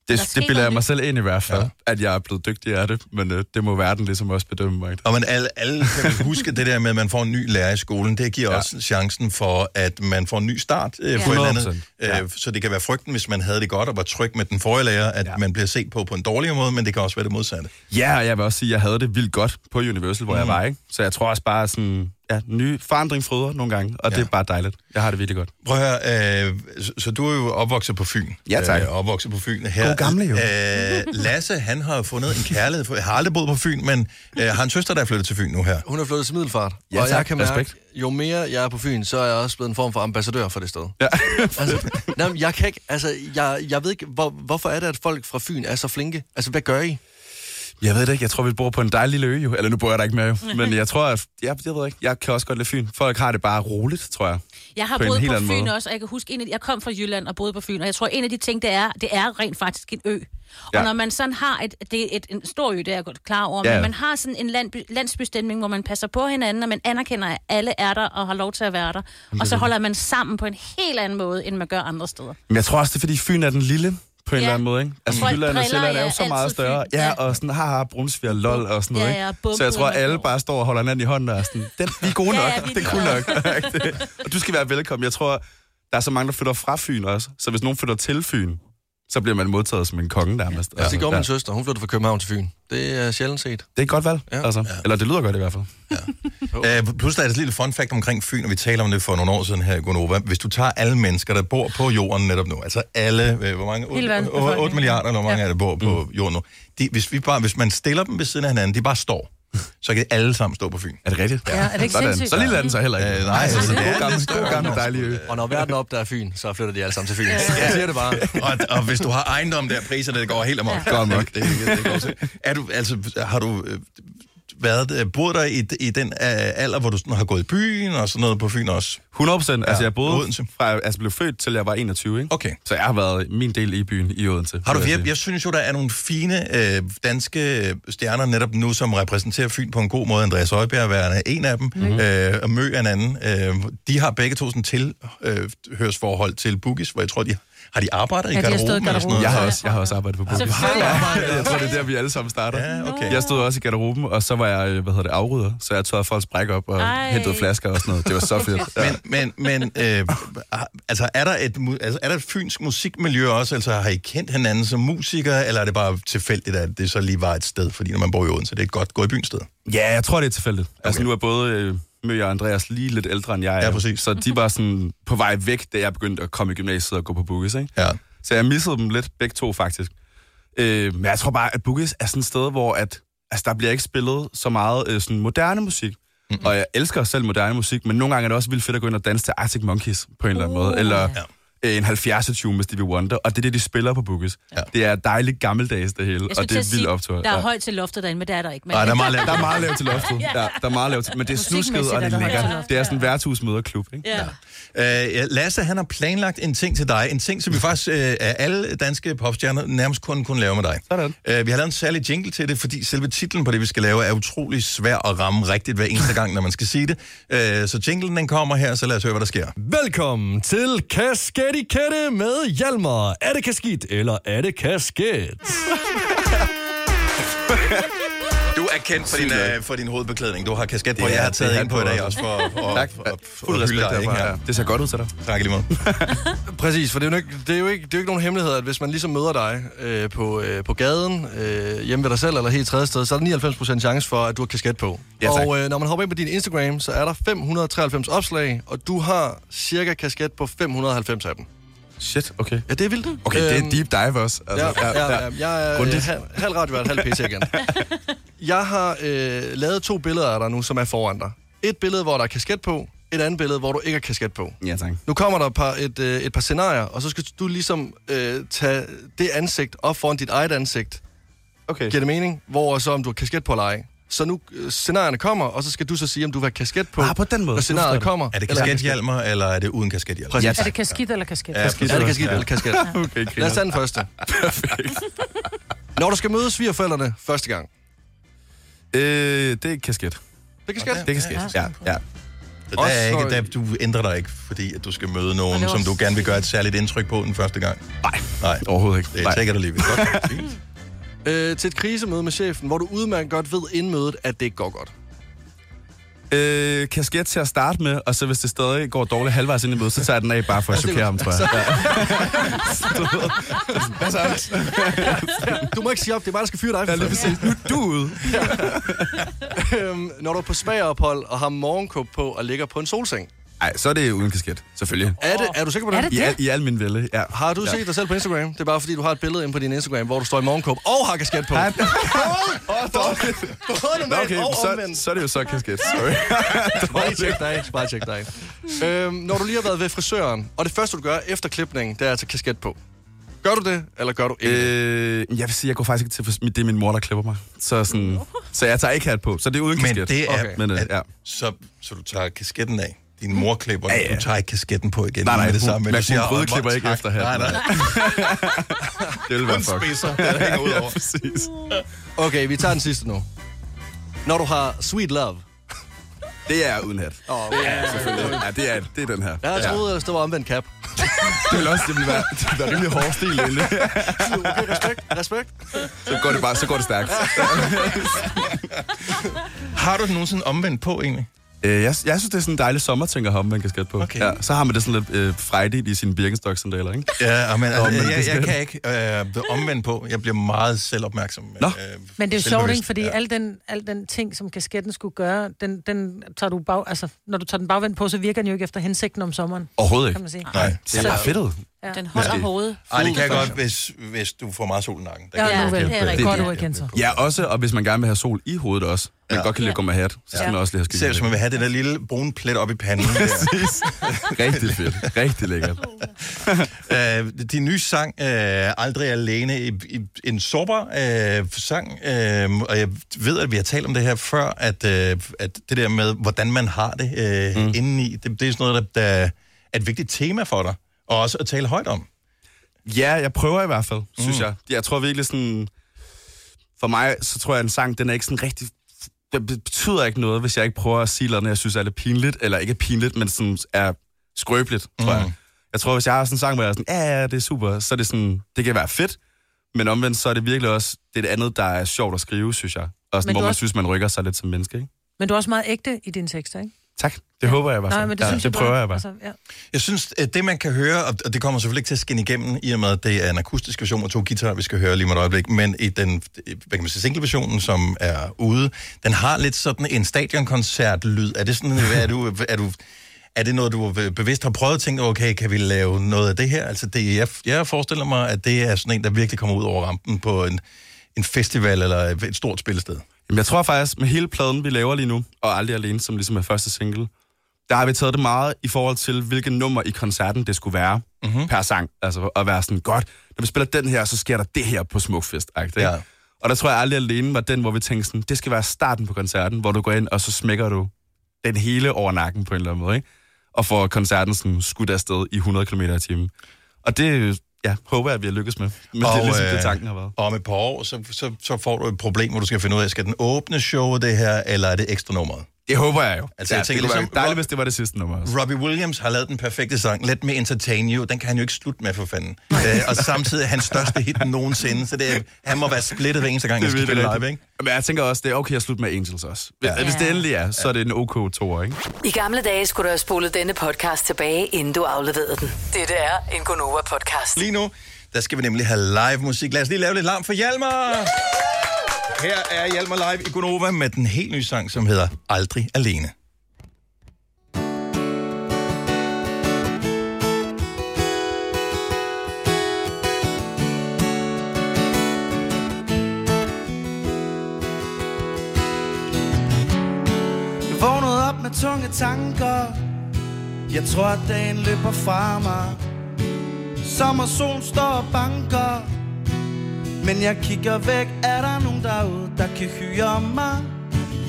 S4: Der
S13: det,
S4: sker
S13: det bilder jeg
S4: noget
S13: mig selv ind i hvert fald, ja. at jeg er blevet dygtig af det, men øh, det må verden ligesom også bedømme mig.
S1: Og man alle, alle kan vel huske det der med, at man får en ny lærer i skolen. Det giver ja. også chancen for, at man får en ny start øh, for et eller andet.
S13: 100%,
S1: Øh,
S13: ja.
S1: Så det kan være frygten, hvis man havde det godt og var tryg med den forrige lærer, at ja. man bliver set på på en dårligere måde, men det kan også være det modsatte.
S13: Ja, og jeg vil også sige, at jeg havde det vildt godt på Universal, hvor mm. jeg
S1: Mm.
S13: var, ikke? Så jeg tror også bare sådan, ja, ny forandring fryder nogle gange, og ja. det er bare dejligt. Jeg har det virkelig godt.
S1: Prøv at høre, øh, så, så du er jo opvokset på Fyn.
S13: Ja, tak.
S1: Øh, opvokset på Fyn her.
S13: God gamle, jo.
S1: Øh, Lasse, han har jo fundet en kærlighed. For, jeg har aldrig boet på Fyn, men øh, har en søster, der er flyttet til Fyn nu her.
S13: Hun er flyttet til Middelfart.
S1: Ja,
S13: tak.
S1: tak.
S13: jeg kan mærke,
S1: Respekt.
S13: jo mere jeg er på Fyn, så er jeg også blevet en form for ambassadør for det sted. Ja. altså, nej, men jeg kan ikke, altså, jeg, jeg ved ikke, hvor, hvorfor er det, at folk fra Fyn er så flinke? Altså, hvad gør I? Jeg ved det ikke. Jeg tror, vi bor på en dejlig lille ø, jo. Eller nu bor jeg der ikke mere, jo. Men jeg tror, at... Ja, jeg ved ikke. Jeg kan også godt lide Fyn. Folk har det bare roligt, tror jeg.
S4: Jeg har
S13: en
S4: boet
S13: helt
S4: på
S13: anden
S4: Fyn
S13: måde.
S4: også, og jeg kan huske, en af de, jeg kom fra Jylland og boede på Fyn, og jeg tror, en af de ting, det er, det er rent faktisk en ø. Og
S13: Ja.
S4: når man sådan har et, det er et, en stor ø, det er jeg godt klar over,
S13: Ja,
S4: ja.
S13: ja.
S4: men man har sådan en landby, landsbystemning, hvor man passer på hinanden, og man anerkender, at alle er der og har lov til at være der.
S13: det er
S4: Og så
S13: det.
S4: holder man sammen på en helt anden måde, end man gør andre steder.
S13: Men jeg tror også, det er, fordi Fyn er den lille på en
S4: Ja.
S13: eller anden måde, ikke? Altså,
S4: Folk
S13: Jylland og
S4: driller
S13: Sjælland er jo
S4: jer
S13: så
S4: altid
S13: meget større.
S4: Fyn.
S13: Ja, og sådan, haha, brunsviger, lol og sådan noget,
S4: Ja, ja,
S13: ikke?
S4: bumbu
S13: så jeg tror,
S4: uden
S13: alle bare står og holder hinanden i hånden og er sådan, den, vi er gode
S4: Ja,
S13: nok,
S4: ja, vi er
S13: det er cool nok. og du skal være velkommen. Jeg tror, der er så mange, der flytter fra Fyn også. Så hvis nogen flytter til Fyn, så bliver man modtaget som en konge nærmest.
S3: Altså, det gjorde min
S13: ja.
S3: søster. Hun flyttede fra København til Fyn. Det er sjældent set.
S13: Det er et godt valg, ja. altså. Eller det lyder godt i hvert fald.
S1: Øh, pludselig er der et lille fun fact omkring Fyn, og vi taler om det for nogle år siden her i Gonova. Hvis du tager alle mennesker, der bor på jorden netop nu, altså alle, øh, hvor mange?
S2: Hele
S1: 8,
S2: verdens
S1: 8,
S2: befolkning.
S1: milliarder, eller hvor mange ja. er det, bor på mm. jorden nu. De, hvis, vi bare, hvis man stiller dem ved siden af hinanden, de bare står, så kan alle sammen stå på Fyn.
S13: Er det rigtigt?
S2: Ja, er det ikke
S13: Sådan.
S2: sindssygt?
S13: Så lille er den så heller ikke.
S1: Øh, nej, altså, det er
S13: God gammel,
S1: lidt
S13: god gammel dejlig ø.
S3: Og når verden op, der er Fyn, så flytter de alle sammen til Fyn. Jeg siger det bare.
S1: og, og hvis du har ejendom der, priserne det går helt amok.
S13: Ja. Godt nok.
S1: Det, det, det går til. er du, altså, har du øh, været, øh, boet der i, i den øh, alder, hvor du sådan har gået i byen og sådan noget på Fyn også?
S13: 100 procent. Altså,
S1: Ja,
S13: jeg boede
S1: Odense.
S13: fra, altså, blev født til jeg var 21, ikke?
S1: Okay.
S13: Så jeg har været min del i byen i Odense.
S1: Har du,
S13: vil jeg
S1: jeg,
S13: sige.
S1: jeg synes jo, der er nogle fine øh, danske øh, stjerner netop nu, som repræsenterer Fyn på en god måde. Andreas Højbjerg er en af
S13: Mhm.
S1: dem, mm-hmm. øh, og Mø er en anden. Øh, de har begge to sådan tilhørsforhold til Bugis, hvor jeg tror, de har de arbejder i
S2: Ja, de har
S1: garderoben.
S2: stået i
S1: eller sådan noget.
S13: Jeg har også, jeg har også arbejdet på Bugis.
S1: Selvfølgelig.
S13: Jeg tror, det er der, vi alle sammen starter.
S1: Ja, okay.
S13: Jeg stod også i garderoben, og så var jeg, øh, hvad hedder det, afrydder, så jeg tørrede folks bræk op og
S1: Ej.
S13: hentede flasker og sådan noget. Det var så fedt. Ja.
S1: Men, men, men øh, altså, er, der et, mu- altså, er der et fynsk musikmiljø også? Altså, har I kendt hinanden som musikere, eller er det bare tilfældigt, at det så lige var et sted? Fordi når man bor i Odense, det er et godt gå i byen sted.
S13: Ja, jeg tror, det er tilfældigt. Okay. Altså, nu er både øh, Mø og Andreas lige lidt ældre end jeg er.
S1: Ja, præcis.
S13: Så de var sådan på vej væk, da jeg begyndte at komme i gymnasiet og gå på Bugis, ikke?
S1: Ja.
S13: Så jeg missede dem lidt, begge to faktisk. Øh, men jeg tror bare, at Bugis er sådan et sted, hvor at, altså, der bliver ikke spillet så meget øh, sådan moderne musik. Mm-hmm. Og jeg elsker selv moderne musik, men nogle gange er det også vildt fedt at gå ind og danse til Arctic Monkeys på en eller anden
S1: Uh,
S13: måde. Eller øh, en 70'er tune med Stevie Wonder, og det er det, de spiller på Bugis. Ja. Det er dejligt gammeldags det hele,
S4: Jeg
S13: og
S4: skulle
S13: det er
S4: til at
S13: vildt
S4: sige,
S13: optur.
S4: Der er
S13: Ja.
S4: højt til loftet derinde, men det er der ikke. Men...
S13: Nej, der er meget lavt. Der er meget lavt til loftet. Ja, der er meget lavt. til- Men det er snusket,
S4: Musikmæssigt
S13: og det
S4: er
S13: er
S4: der højt til
S13: lækkert.
S4: loftet,
S13: Det er sådan en værtshusmøderklub, ikke?
S4: Ja.
S1: Øh, ja, Lasse, han har planlagt en ting til dig. En ting, som vi faktisk øh, af alle danske popstjerner nærmest kun kunne lave med dig. Sådan. Øh, vi har lavet en særlig jingle til det, fordi selve titlen på det, vi skal lave, er utrolig svær at ramme rigtigt hver eneste gang, når man skal sige det. Øh, så jinglen, den kommer her, så lad os høre, hvad der sker.
S20: Velkommen til Kasketti Kette med Hjalmar. Er det kasket, eller er det kasket?
S1: Du er kendt for din, øh, for din hovedbeklædning. Du har kasket på, jeg har taget ind på i dag også for, for,
S13: Tak.
S1: for, for, for
S13: Fuld
S1: at hylde
S13: respekt
S1: dig, ikke?
S13: herfra.
S1: Ja.
S13: Ja. Det ser godt ud til dig.
S1: Tak i lige måde.
S3: Præcis, for det er, jo ikke, det, er jo ikke, det er jo ikke nogen hemmelighed, at hvis man ligesom møder dig øh, på, øh, på gaden, øh, hjemme ved dig selv eller helt et tredje sted, så er der 99% chance for, at du har kasket på.
S13: Ja, tak.
S3: og øh, når man hopper ind på din Instagram, så er der 593 opslag, og du har cirka kasket på 590 af dem.
S13: Shit, okay.
S3: Ja, det er vildt.
S13: Okay, det
S3: Øhm,
S13: er deep dive også.
S3: Altså, ja, ja, ja, Jeg er øh,
S13: Grundigt.
S3: halv, halv radiovært, halv PC igen. Jeg har øh, lavet to billeder af dig nu, som er foran dig. Et billede, hvor der er kasket på, et andet billede, hvor du ikke har kasket på.
S13: Ja, tak.
S3: Nu kommer der et par, et, øh, et par scenarier, og så skal du ligesom øh, tage det ansigt op foran dit eget ansigt.
S13: Okay.
S3: Giver det mening? Hvor så om du har kasket på eller ej. Så nu øh, scenarierne kommer, og så skal du så sige, om du vil have kasket på,
S13: Ah, på den måde.
S3: når
S13: Nu forstår
S3: scenariet
S13: jeg det.
S3: kommer.
S1: Er det
S3: eller-
S1: kaskethjelmer, eller er det uden kaskethjelmer?
S3: Præcis.
S2: Er det kasket eller kasket?
S1: Ja,
S3: Kasket. Er det kasket eller kasket?
S13: Okay,
S3: Lad os tage den første. Når du skal møde svigerforældrene første gang.
S13: Øh, det er kasket.
S3: Det kan skat.
S13: Det er kasket, ja. ja.
S1: Så der er ikke, der, du ændrer dig ikke, fordi at du skal møde nogen,
S13: det var
S1: som du gerne vil gøre et særligt indtryk på den første gang?
S13: Nej.
S1: Nej.
S13: Overhovedet ikke.
S1: Det er
S13: Nej.
S1: sikkert alligevel.
S3: Øh, til et krisemøde med chefen, hvor du udmærket godt ved inden mødet, at det ikke går godt.
S13: Øh, kasket til at starte med, og så hvis det stadig går dårligt halvvejs ind i mødet, så tager jeg den af bare for at chokere ham, tror jeg. Hvad så, Alex?
S3: Du må ikke sige op, det er mig, der skal fyre dig. Ja, lige
S13: præcis. Nu er du ude.
S3: øhm, når du er på spagerophold og har morgenkåb på og ligger på en solseng.
S13: Nej, så er det uden kasket, selvfølgelig.
S3: Er, det, er du sikker på det?
S13: I, al, I al min vælde, ja.
S3: Har du
S13: ja.
S3: set dig selv på Instagram? Det er bare fordi, du har et billede inde på din Instagram, hvor du står i morgenkåb og har kasket på. Åh, dårligt. Både
S13: Nå,
S3: normalt
S13: okay,
S3: og
S13: så,
S3: omvendt.
S13: så er det jo så kasket. Sorry.
S3: Bare lige tjek dig. Bare tjek dig. Øhm, når du lige har været ved frisøren, og det første, du gør efter klipningen, det er at tage kasket på. Gør du det, eller gør du ikke?
S13: Øh, jeg vil sige, jeg går faktisk ikke til, for det er min mor, der klipper mig. Så, sådan, så jeg tager ikke hat på. Så det er uden
S1: Men
S13: kasket.
S1: det er,
S13: Okay. Men, øh,
S1: at,
S13: ja. Mm.
S1: så, så du tager kasketten af. Din mor klipper, ja, ja. du tager ikke kasketten på igen.
S13: Nej, nej,
S1: med det
S13: hun-
S1: samme.
S13: men
S1: Du
S13: hun
S1: siger,
S13: brød
S1: "Åh,
S13: klipper
S1: tak."
S13: ikke efter her.
S1: Nej, nej.
S13: Det ville
S1: Kun
S13: være fuck.
S1: spidser, der hænger ud over.
S13: præcis.
S3: Okay, vi tager den sidste nu. Når du har Sweet Love.
S13: Det er uden hat.
S3: Oh,
S13: Ja, selvfølgelig. Ja, det er, det er den her.
S3: Jeg
S13: ja.
S3: troede ellers, det var omvendt cap.
S13: Det ville også det ville være, det ville være rimelig hård stil, egentlig.
S3: Okay, respekt, respekt.
S13: Så går det bare, så går det stærkt.
S1: Har du den nogensinde omvendt på, egentlig?
S13: Øh, jeg, jeg synes, det er sådan en dejlig sommerting at have omvendt kasket på. Okay. Ja, så har man det sådan lidt øh, frejdigt i sine Birkenstock-sandaler, ikke?
S1: Ja, men
S13: Og omvendt
S1: altså, jeg, jeg
S13: kasket.
S1: kan ikke øh, omvendt på. Jeg bliver meget selvopmærksom. Nå. Øh,
S2: Men det er jo sjovt,
S1: selvbevidst.
S2: ikke? Fordi ja. al, den, al den ting, som kasketten skulle gøre, den, den tager du bag, altså, når du tager den bagvendt på, så virker den jo ikke efter hensigten om sommeren.
S13: Overhovedet
S2: Kan man sige.
S13: ikke. Nej, det er bare fedt ud.
S2: Ja. Ah, Den
S13: holder Måske. hovedet.
S1: Ej, det kan jeg
S13: Fuld
S1: godt, hvis, hvis du får meget sol i nakken. Der
S2: Ja,
S1: kan
S2: ja,
S1: jeg godt
S2: det er
S1: hjælpe.
S2: rigtigt. Godt ord igen, så.
S13: Ja, også, og hvis man gerne vil have sol i hovedet også, man godt kan lide at gå med hat, så skal man også lige have skygge.
S1: Selv hvis man vil have det der lille brune plet op i panden.
S13: Præcis. Rigtig fedt. Rigtig lækkert.
S1: øh, din nye sang, øh, Aldrig Alene, i, i, en sårbar øh, sang, øh, og jeg ved, at vi har talt om det her før, at, øh, at det der med, hvordan man har det øh, mm. indeni, det, det er sådan noget, der, der er et vigtigt tema for dig, og også at tale højt om. Mm.
S13: Ja, jeg prøver i hvert fald, synes jeg. Jeg tror virkelig sådan... For mig, så tror jeg, at en sang, den er ikke sådan rigtig... Den betyder ikke noget, hvis jeg ikke prøver at sige noget, jeg synes er lidt pinligt, eller ikke er pinligt, men sådan er skrøbeligt, tror jeg. Jeg tror, hvis jeg har sådan en sang, hvor jeg er sådan, ja, ja, det er super, så er det sådan, det kan være fedt, men omvendt, så er det virkelig også, det er det andet, der er sjovt at skrive, synes jeg. Og
S2: Men
S13: sådan, hvor
S2: du
S13: man
S2: også-
S13: synes, man rykker sig lidt som menneske, ikke?
S2: Men du er også meget ægte i dine tekster, ikke?
S13: Tak. Det håber jeg bare.
S2: Nej,
S13: så.
S2: men det
S13: ja,
S2: synes
S13: det
S2: jeg
S13: prøver
S2: bare.
S13: jeg bare.
S2: Altså, ja.
S1: Jeg synes, at det man kan høre, og og det kommer selvfølgelig ikke til at skinne igennem, i og med at det er en akustisk version med to guitarer, vi skal høre lige om et øjeblik, men i den hvad kan man sige, single-versionen, som er ude, den har lidt sådan en stadionkoncert-lyd. Er det sådan, hvad er du... Er du er det noget, du bevidst har prøvet at tænke, okay, kan vi lave noget af det her? Altså, det, jeg, jeg forestiller mig, at det er sådan en, der virkelig kommer ud over rampen på en, en festival eller et stort spillested.
S13: Jamen, jeg tror faktisk, med hele pladen, vi laver lige nu, og Aldrig Alene, som ligesom er første single, der har vi taget det meget i forhold til, hvilket nummer i koncerten det skulle være mm-hmm. per sang. Altså at være sådan, godt, når vi spiller den her, så sker der det her på Smukfest. Ja. Og der tror jeg, Aldrig Alene var den, hvor vi tænkte sådan, det skal være starten på koncerten, hvor du går ind, og så smækker du den hele over nakken på en eller anden måde, ikke? Og får koncerten sådan skudt afsted i 100 km i timen. Og det, ja, håber jeg, at vi har lykkes med. Men og, det er ligesom øh... det, tanken har været.
S1: Og om et par år, så, så, så får du et problem, hvor du skal finde ud af, skal den åbne showet det her, eller er det ekstra nummeret?
S13: Det håber jeg jo.
S1: Altså,
S13: ja,
S1: jeg tænker
S13: det kunne være
S1: ligesom-
S13: dejligt, hvis det var det sidste nummer. også.
S1: Robbie Williams har lavet den perfekte sang, Let Me Entertain You, den kan han jo ikke slutte med for fanden. Æ, og samtidig er hans største hit nogensinde, så det er, han må være splittet hver eneste gang, han
S13: Det er
S1: skal
S13: virkelig
S1: spille live,
S13: rigtigt.
S1: ikke?
S13: Men jeg tænker også, det er okay at slutte med Angels også. Hvis,
S1: Ja.
S13: ja. hvis det endelig er, så er det en OK tour, ikke?
S6: I gamle dage skulle du have spolet denne podcast tilbage, inden du afleverede den. Dette er en Gonova-podcast.
S1: Lige nu, der skal vi nemlig have live musik. Lad os lige lave lidt larm for Hjalmar! Her er Hjalmar live i Gunova med den helt nye sang, som hedder Aldrig Alene.
S8: Jeg vågnede op med tunge tanker Jeg tror at dagen løber fra mig Sommer solen står og banker Men jeg kigger væk Er der nogen derude der kan hyre mig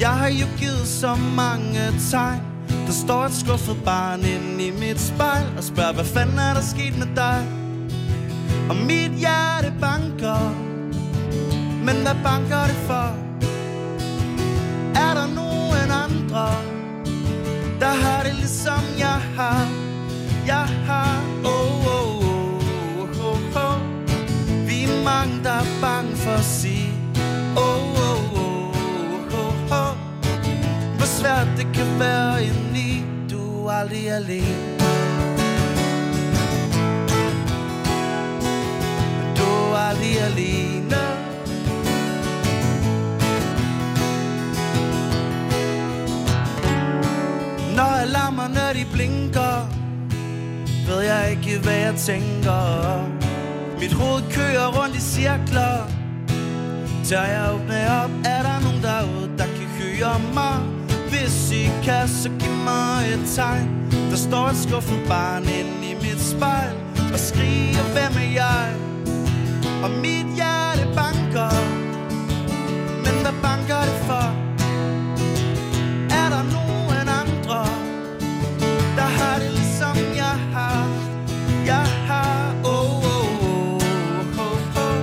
S8: Jeg har jo givet så mange tegn Der står et skuffet barn inde i mit spejl Og spørger hvad fanden er der sket med dig Og mit hjerte banker Men hvad banker det for? Er der nogen andre, der har det ligesom jeg har? Jeg har, oh, oh, oh, oh, oh. Vi er mange, der er bange for at sige, oh, oh, oh, oh, oh. Hvor svært det kan være indeni, du er aldrig alene. Du er aldrig alene. Når alarmerne de blinker Ved jeg ikke hvad jeg tænker Mit hoved kører rundt i cirkler Tør jeg åbne op Er der nogen derude der kan hyre mig Hvis I kan så giv mig et tegn Der står et skuffet barn inde i mit spejl Og skriger hvem er jeg Og mit hjerte banker Men hvad banker det for? Er der nogen andre Der har det ligesom jeg har Jeg har oh, oh, oh, oh, oh.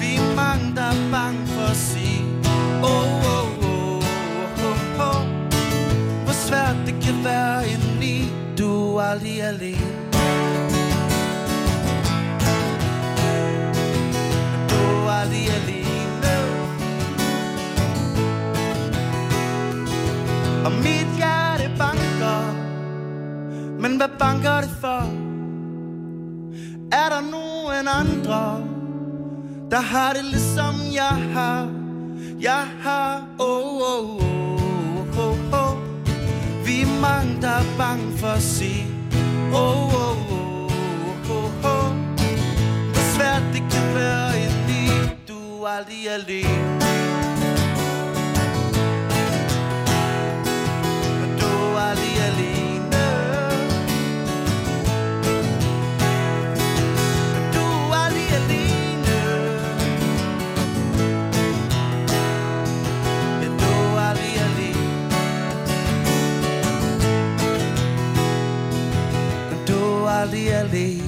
S8: Vi er mange der er bange for at sige oh, oh, oh, oh, oh. Hvor svært det kan være indeni Du er aldrig alene Du er aldrig alene Og mit hjerte banker Men hvad banker det for? Er der nogen andre Der har det ligesom jeg har Jeg har oh, oh, oh, oh, oh. Vi er mange der er bange for at sige Oh, oh, oh, oh, oh. Hvor svært det kan være indeni Du er aldrig alene Du er aldrig alene Du er aldrig alene Du er aldrig alene Du er aldrig alene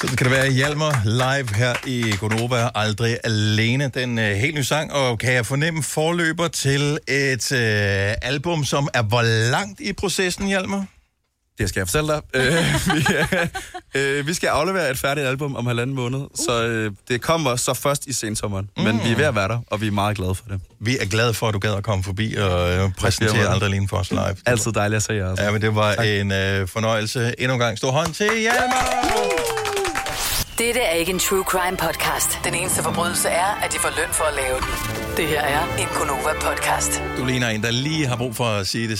S1: Så skal det være Hjalmar live her i Gonova, aldrig alene. Den øh, helt nye sang, og kan jeg fornemme forløber til et øh, album, som er hvor langt i processen, Hjalmar?
S13: Det skal jeg fortælle dig. Øh, vi, øh, vi skal aflevere et færdigt album om halvanden måned, uh. så øh, det kommer så først i sensommeren. Mm. Men vi er ved at være der, og vi er meget glade for det.
S1: Vi er glade for, at du gad at komme forbi og øh, præsentere aldrig alene for os live.
S13: Altid dejligt at se jer.
S1: Ja, men det var tak. en øh, fornøjelse. Endnu en gang stor hånd til Hjalmar!
S6: Dette er ikke en true crime podcast. Den eneste forbrydelse er, at de får løn for at lave den. Det her er en Gonova podcast.
S1: Du ligner en, der lige har brug for at sige det